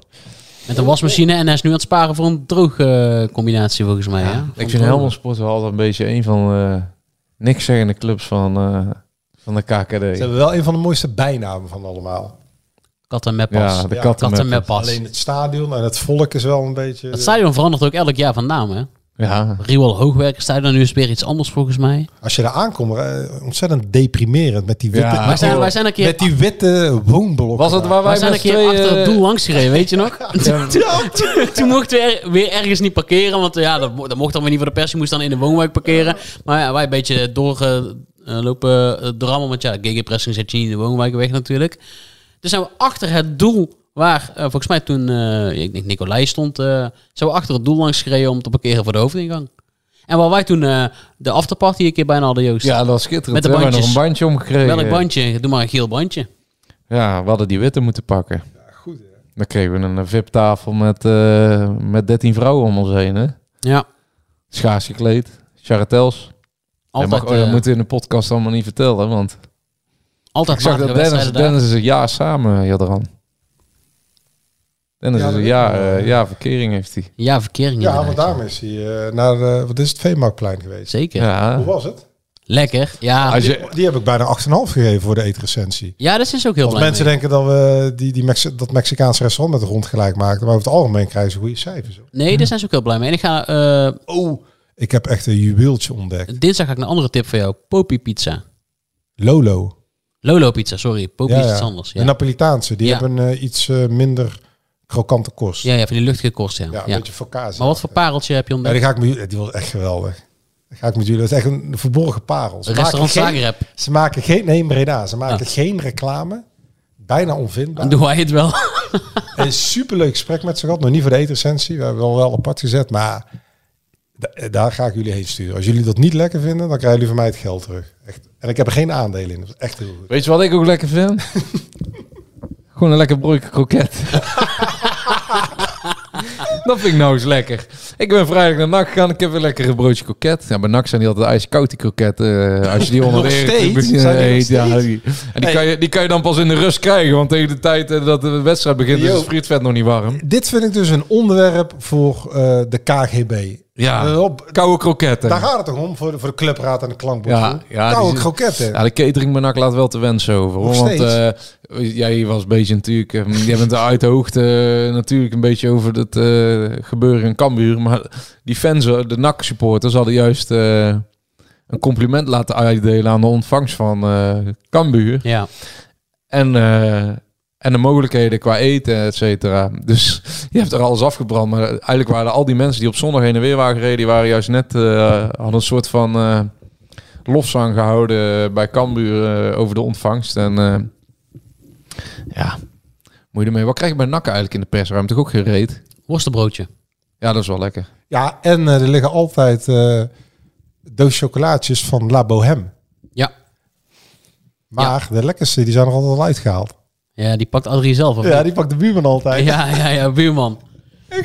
Met een wasmachine en hij is nu aan het sparen voor een droog eh, combinatie volgens mij. Ja, Ik vind Helmelsport wel altijd een beetje een van de niks zeggende clubs van, eh, van de Ze KKD. hebben wel een van de mooiste bijnamen van allemaal. Katten met pas. Ja, de Ja, katten Katten met... met pas. Alleen het stadion en het volk is wel een beetje... Het stadion verandert ook elk jaar van naam, hè? Ja, Riool Hoogwerker stadion, nu is het weer iets anders volgens mij. Als je daar aankomt, eh, ontzettend deprimerend met die witte, Ja. Wij zijn, wij zijn een keer, met die witte woonblokken. Was het wij waar wij zijn een met keer twee... achter het eh, doel langs gereden, weet je nog? Toen- Toen mochten we er- weer ergens niet parkeren, want eh, ja, dat, mo- dat mocht dan weer niet voor de pers. Je moest dan in de woonwijk parkeren. Maar ja, wij een beetje eh, doorlopen uh, drammen, want ja, gegenpressing zet je niet in de woonwijk weg natuurlijk. Dus zijn we achter het doel waar, eh, volgens mij toen eh, ik denk Nicolai stond, eh, zijn we achter het doel langs gereden om te parkeren voor de hoofdingang. En waar wij toen eh, de afterparty een keer bijna hadden, Joost. Ja, eh, dat was schitterend. Met de We hebben nog bandjes. een bandje omgekregen. Welk bandje? Doe maar een geel bandje. Ja, we hadden die witte moeten pakken. Goed, hè? Dan kregen we een eh, VIP-tafel met, eh, met 13 vrouwen om ons heen. Hè? Ja, Schaars gekleed, charretels. altijd, dat, mag, oh, dat eh, moeten we in de podcast allemaal niet vertellen. Want altijd ik zag dat matige Dennis, wedstrijden daar. Dennis is een jaar samen, eh, Jadran. Dennis Ja, dat is een weet jaar, ik wel, eh, ja. jaar verkering heeft hij. Ja, verkering Ja, inderdaad, want daarom is hij eh, naar, eh, wat is het, Veemarktplein geweest. Zeker. Ja. Hoe was het? Lekker. Ja. Als je, Die, die heb ik bijna 8,5 gegeven voor de eetrecensie. ja, dat is ook heel Als blij mensen mee. denken dat we die, die Mex- dat Mexicaanse restaurant met de grond gelijk maken, maar over het algemeen krijgen ze goede cijfers. hoor. Nee, daar zijn ze ook heel blij mee. En ik ga, eh, Oh, ik heb echt een juweeltje ontdekt. dinsdag ga ik een andere tip voor jou. Popi pizza. Lolo. Lolo pizza, sorry. Popi is iets anders. De Ja. Napolitaanse, die Ja. hebben eh, iets eh, minder krokante kost. ja, ja, van die luchtige korst, ja. Ja, een Ja. beetje focaccia. Maar wat voor pareltje heb je Ja, ontdekt? die, ga ik met, jullie- die was echt geweldig. Die ga ik met jullie. Dat is echt een verborgen parel. Ze Restaurant maken geen, Zagreb. Ze maken geen... Nee, Breda. Ah. Ze maken geen reclame. Bijna Dan onvindbaar. doen wij het wel. Een superleuk gesprek met ze gehad. Nog niet voor de eetrecensie. We hebben wel wel apart gezet. Maar da- daar ga ik jullie heen sturen. Als jullie dat niet lekker vinden, dan krijgen jullie van mij het geld terug. Echt. En ik heb er geen aandelen in. Dat is echt heel goed. weet je wat ik ook lekker vind? Gewoon een lekker broodje kroket. dat vind ik nou eens lekker. Ik ben vrijdag naar NAC gegaan. Ik heb weer lekker een broodje kroket. Ja, bij NAC zijn die altijd ijskoud, die kroketten. eh, als je die onder de Nog eretribune steeds? Zijn die nog eet, ja, steeds? die- En die kan, je, die kan je dan pas in de rust krijgen. Want tegen de tijd eh, dat de wedstrijd begint is Yo. het frietvet nog niet warm. Dit vind ik dus een onderwerp voor eh, de KGB. Ja, Eh, op- koude kroketten. daar gaat het toch om, voor de, voor de clubraad en de klankbord. Ja, ja, Koude die- kroketten. Ja, de catering bij NAC laat wel te wensen over. hoor. Nog Want steeds. eh, jij was een beetje natuurlijk... eh, jij bent uit de hoogte eh, natuurlijk een beetje over het eh, gebeuren in Cambuur. Maar die fans, eh, de NAC-supporters, hadden juist eh, een compliment laten uitdelen aan de ontvangst van eh Cambuur. Ja. En, eh, en de mogelijkheden qua eten, et cetera. Dus je hebt er alles afgebrand. Maar eigenlijk waren al die mensen die op zondag heen en weer waren gereden... die waren juist net... eh, hadden een soort van eh lofzang gehouden bij Cambuur eh, over de ontvangst. En eh, ja, moet je ermee... Wat krijg je bij Nakken eigenlijk in de persruimte? Toch ook gereed? Worstenbroodje. Ja, dat is wel lekker. Ja, en eh, er liggen altijd eh doos chocolaatjes van La Bohème. Ja. Maar de lekkerste, die zijn er altijd al uitgehaald. Ja, die pakt Adrie zelf. Of Ja, niet? die pakt de buurman altijd. Ja, ja, ja, ja, buurman.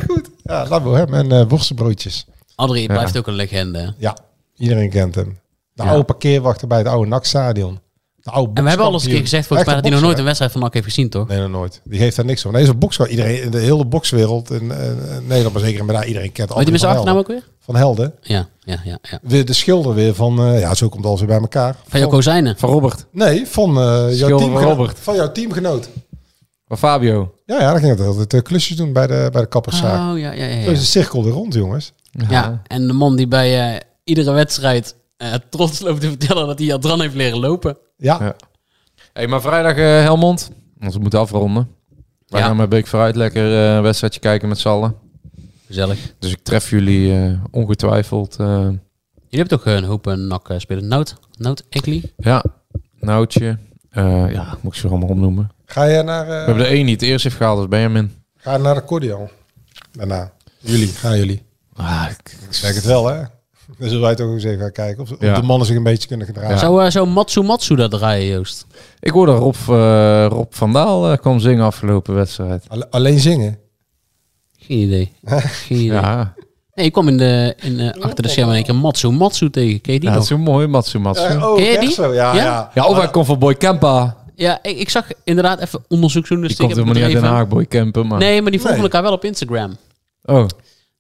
goed. Ja, La Bohème en eh, worstenbroodjes. Adrie blijft ook een legende. hè. Ja, iedereen kent hem. De oude parkeerwachter bij het oude NAC-stadion. De oude En we hebben al eens een bokskampioen. keer gezegd, volgens Echte mij, dat hij nog nooit bokser, een wedstrijd van NAC heeft gezien, toch? hè? Nee, nog nooit. Die geeft daar niks van. Nee, zo'n bokser. Iedereen, in de hele bokswereld in eh, Nederland, maar zeker in Breda, iedereen kent Weet je André met zijn van achternaam ook Helden. weer? Van Helden. Ja, ja, ja. ja. Weer de schilder weer van, eh, ja, zo komt alles weer bij elkaar. Van jouw kozijnen. Van Robert. Nee, van, eh, jouw, Schilder van teamgenoot, Robert. van jouw teamgenoot. Van Fabio. Ja, ja, dan ging het altijd eh, klusjes doen bij de, bij de kapperszaak. Oh, ja, ja, ja. Zo ja. is de cirkel weer rond, jongens. Ja, en de man die bij eh, iedere wedstrijd eh, trots loopt te vertellen dat hij Adran heeft leren lopen. Ja, Ja. hey, maar vrijdag eh, Helmond. Want we moeten afronden. Wij Ja. gaan met Beek vooruit lekker eh, een wedstrijdje kijken met z'n allen. Gezellig. Dus ik tref jullie eh, ongetwijfeld. eh, Jullie hebben toch eh, een hoop eh, nak eh, spelers. Nout, Nout, Ekli. ja, Noutje. Eh, ja, moet ik ze er allemaal opnoemen. ga je naar, We eh, hebben er één niet. Eerst heeft gehaald, dat is Benjamin. ga je naar de cordial. Daarna. Jullie, gaan jullie. Ah, ik- ik- Zeg het wel, hè? Dan zullen wij toch eens even gaan kijken of, of Ja. de mannen zich een beetje kunnen gedragen. Zou, eh, zou Matsu Matsu dat draaien, Joost? ik hoorde Rob, eh, Rob van Daal eh, kwam zingen afgelopen wedstrijd. Alle- Alleen zingen. Geen idee. Geen idee. Ja, Nee, ik kwam in de, in, eh, achter de schermen in één keer Matsu Matsu tegen. Ken je die ja dat nog? is zo mooi, Matsu Matsu. Eh, oh, Ken je echt die? zo, ja. Ja? ja? ja, of hij komt van Boy Kempa. Ja, ik, ik zag inderdaad even onderzoek doen. Dus Die ik komt heb helemaal het niet uit Den er Haag, even- Boy Kempen. Maar... Nee, maar die volgen Nee. elkaar wel op Instagram. Oh,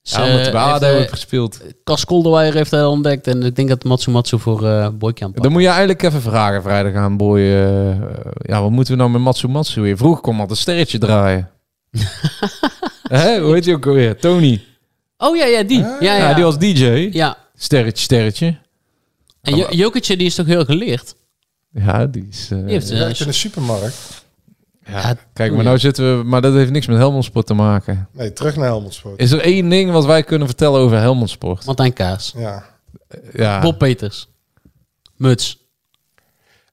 Dus, ja, omdat we eh, bij ADO heeft, hebben eh, gespeeld. Cas Kolderweijer heeft hij ontdekt. En ik denk dat Matsu Matsu voor eh Boykamp. Dan moet je eigenlijk even vragen vrijdag aan Boy. eh, eh, ja, wat moeten we nou met Matsu Matsu weer? Vroeger kon altijd een sterretje draaien. Hè, hoe heet je ook alweer? Tony. Oh ja, ja, die. Ja, ja, Ah. Ja, ja. die was DJ. Ja. Sterretje, sterretje. En Jo- Jokertje, die is toch heel geleerd? Ja, die is... eh, Die heeft, eh, Je werkt in de supermarkt. ja, kijk, maar nou zitten we... Maar dat heeft niks met Helmond Sport te maken. Nee, terug naar Helmond Sport. Is er één ding wat wij kunnen vertellen over Helmond Sport? Martijn Kaas. Ja. Ja. Bob Peters. Muts.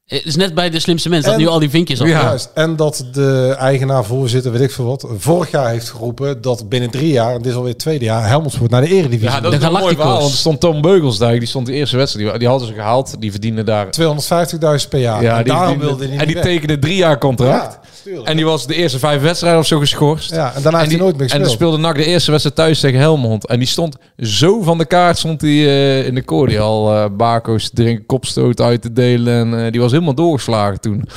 Het is net bij de slimste mens dat En- nu al die vinkjes op. Ja. Juist. En dat de eigenaar, voorzitter, weet ik veel wat, vorig jaar heeft geroepen dat binnen drie jaar, en dit is alweer het tweede jaar, Helmond Sport naar de eredivisie Ja, moet. dat is De een mooi Galacticos. verhaal. Want er stond Tom Beugelsdijk, die stond de eerste wedstrijd. Die, die hadden ze gehaald, die verdiende daar... 250.000 per jaar. Ja, en die daarom verdiende- wilde hij niet en die weg. tekende drie jaar contract. Ja, tuurlijk. En die was de eerste vijf wedstrijden of zo geschorst. Ja, en daarna heeft die, hij nooit meer En gespeeld. dan speelde NAC de eerste wedstrijd thuis tegen Helmond. En die stond zo van de kaart, stond hij eh, in de koordie al eh bako's te drinken, kopstoot uit te delen. En eh, die was helemaal doorgeslagen toen.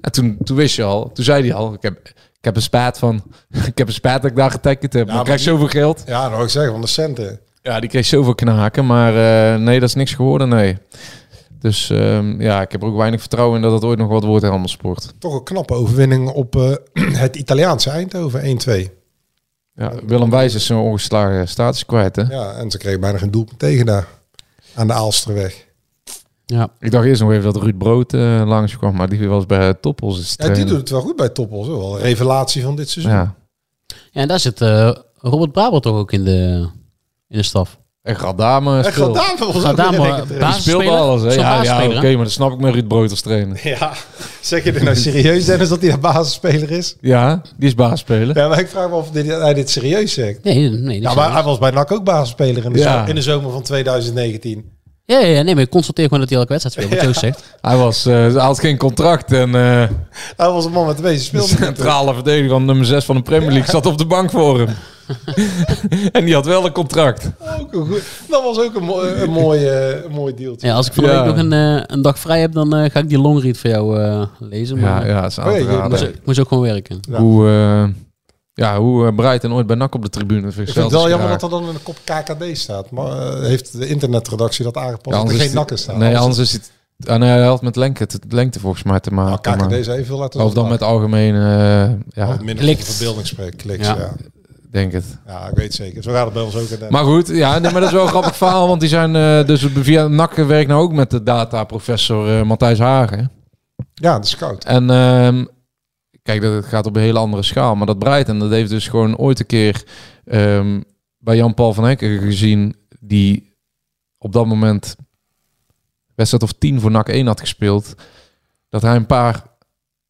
En toen, toen wist je al, toen zei hij al, ik heb, ik heb een spaat van, ik heb een spaat dat ik daar getackeld heb. maar maar ik krijg die- zoveel geld. Ja, dat wil ik zeggen, van de centen. Ja, die kreeg zoveel knaken, maar eh, nee, dat is niks geworden, nee. Dus ehm, ja, ik heb er ook weinig vertrouwen in dat het ooit nog wat wordt, Helmond Sport. Toch een knappe overwinning op eh, het Italiaanse Eindhoven, 1-2. Ja, Willem Wijs is zijn ongeslagen status kwijt, hè? Ja, en ze kregen bijna geen doelpunt tegen daar. Aan de Aalsterweg. Ja. Ik dacht eerst nog even dat Ruud Brood eh langs kwam, maar die was bij Toppels. Dus, is Ja, die trainer. doet het wel goed bij Toppel. Zo. Wel een revelatie van dit seizoen. Ja. ja, en daar zit eh, Robert Brabant toch ook in de, in de staf. En Gadame En speelt. Gaddafi was ook Gaat daar weer maar lekker eh, Die speelt alles, hè? Zo'n Ja, ja oké, basisspeler, hè? maar dat snap ik met Ruud Brood als trainer. terug. Ja, zeg je dit nou serieus, Dennis, dat hij een basisspeler is? Ja, die is baasspeler. Ja, maar ik vraag me of dit, hij dit serieus zegt. Nee, nee. Ja, Ja, maar hij was bij NAC ook basisspeler in de, Ja. zo- in de zomer van 2019. ja, ja, nee, maar ik constateer gewoon dat hij elke wedstrijd speelt, wat Joost zegt. Hij, was, eh, hij had geen contract en eh, Hij was een man met twee de speelde. niet. centrale verdediger van nummer 6 van de Premier League zat op de bank voor hem. en die had wel een contract. Ook een goed- Dat was ook een, mo- een, mooi, eh, een mooi deeltje. Ja, als ik van de Ja. week nog een, eh, een dag vrij heb, dan eh, ga ik die longread voor jou eh, lezen. Maar Ja, eh, ja, dat is aan te Oké, raden. dat is- ik moest ook gewoon werken. Ja. Hoe, eh ja, hoe eh, Breiten ooit bij NAC op de tribune. vind Ik zelf vind het wel dus jammer raar. dat er dan een kop KKD staat. Maar eh, heeft de internetredactie dat aangepast? Ja, dat er is geen die- nakken staan. Nee, anders is het... Ah, nee, hij had met lengte, te- lengte volgens mij te Nou, maken. maar- KKD is even laten of dan met algemeen... eh, ja, Of minder Klikt. van verbeelding spreken. Kliks, Ja. ja. Ja. denk het. ik weet het zeker. Zo gaat het bij ons ook. in Den- Maar goed, ja, nee, maar dat is wel een grappig verhaal. Want die zijn eh, dus via NAC werkt nou ook met de data-professor eh, Matthijs Hagen. ja, de scout. En ehm, kijk, dat het gaat op een hele andere schaal. Maar dat Breiten, dat heeft dus gewoon ooit een keer ehm, bij Jan-Paul van Hekken gezien... die op dat moment wedstrijd of 10 voor NAC 1 had gespeeld... dat hij een paar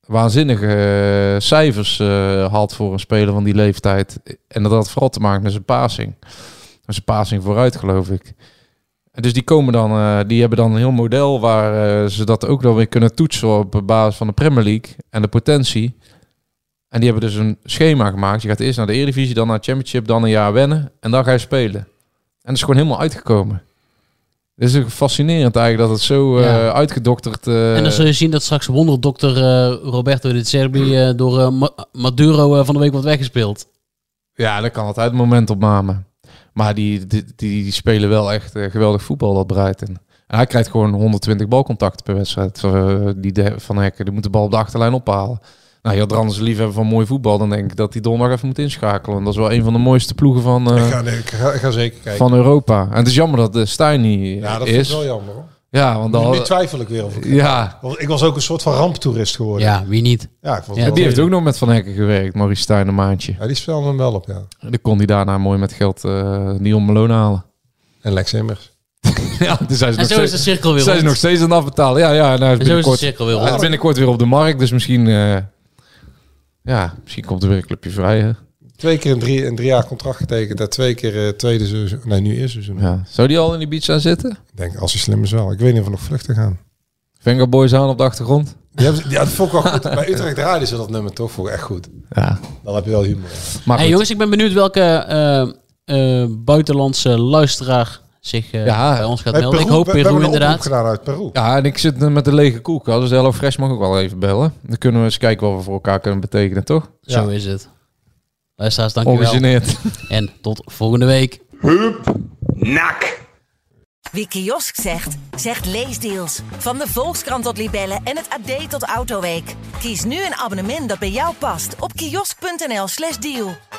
waanzinnige eh, cijfers eh, had voor een speler van die leeftijd. En dat had vooral te maken met zijn passing. Met zijn passing vooruit, geloof ik. En dus die komen dan, eh, die hebben dan een heel model waar eh, ze dat ook dan weer kunnen toetsen op basis van de Premier League en de potentie. En die hebben dus een schema gemaakt. Je gaat eerst naar de Eredivisie, dan naar het Championship, dan een jaar wennen en dan ga je spelen. En dat is gewoon helemaal uitgekomen. Het is ook fascinerend eigenlijk dat het zo eh, uitgedokterd... eh, en dan zul je zien dat straks wonderdokter eh, Roberto de Serbi eh, door eh, Ma- Maduro eh, van de week wordt weggespeeld. Ja, dat kan altijd momentopname. Maar die, die, die, die spelen wel echt eh, geweldig voetbal, dat Brighton. En hij krijgt gewoon 120 balcontacten per wedstrijd. eh, die de, van Hekken, die moet de bal op de achterlijn ophalen. Nou, je had er anders lief hebben van mooi voetbal. Dan denk ik dat die donderdag even moet inschakelen. En dat is wel een van de mooiste ploegen van, eh, Ik, ga, nee, ik, ga, ik ga zeker kijken. van Europa. En het is jammer dat de Stijn niet ja, dat is. is wel jammer hoor. Ja, Nu- want dan... Nu twijfel ik weer of ik... Ja, Want Ik was ook een soort van ramptoerist geworden. Ja, wie niet? Ja, ik vond Ja, het die wel heeft ook nog met Van Hekken gewerkt, Maurice Stijn een maandje. ja, die speelde hem wel op, ja. En dan kon hij daarna mooi met geld eh Dion Malone halen. En Lex Immers. ja, dus hij En is nog zo is steeds- de cirkel weer Zijn ze rond. nog steeds aan het afbetalen? Ja, ja. En hij En zo is is de binnenkort, cirkel weer hij is rond. binnenkort weer op de markt, dus misschien... eh, ja, misschien komt er weer een clubje vrij, hè? Twee keer een drie, een drie jaar contract getekend. Daar twee keer eh, tweede seizoen. Nee, nu eerste seizoen. Ja. Zou die al in die beach gaan zitten? Ik denk, als ze slim is wel. Ik weet niet of we nog vluchten gaan. Venga Boys aan op de achtergrond? Die hebben ze- ja, dat vond ik wel goed. Bij Utrecht draaiden ze dat nummer toch voor echt goed. Ja. Dan heb je wel humor. Maar Hey, goed. jongens, ik ben benieuwd welke eh, eh, buitenlandse luisteraar zich eh, Ja. bij ons gaat Bij melden. Peru- ik hoop we- we hebben Peru een oproep inderdaad. gedaan uit Peru. Ja, en ik zit eh, met een lege koelkast, dus Hello Fresh mag ook wel even bellen. Dan kunnen we eens kijken wat we voor elkaar kunnen betekenen, toch? Zo is het. Luisteraars, dankjewel. Ongegeneerd. En tot volgende week. Wie kiosk zegt, zegt leesdeals. Van de Volkskrant tot Libellen en het AD tot Autoweek. Kies nu een abonnement dat bij jou past op kiosk.nl/slash deal.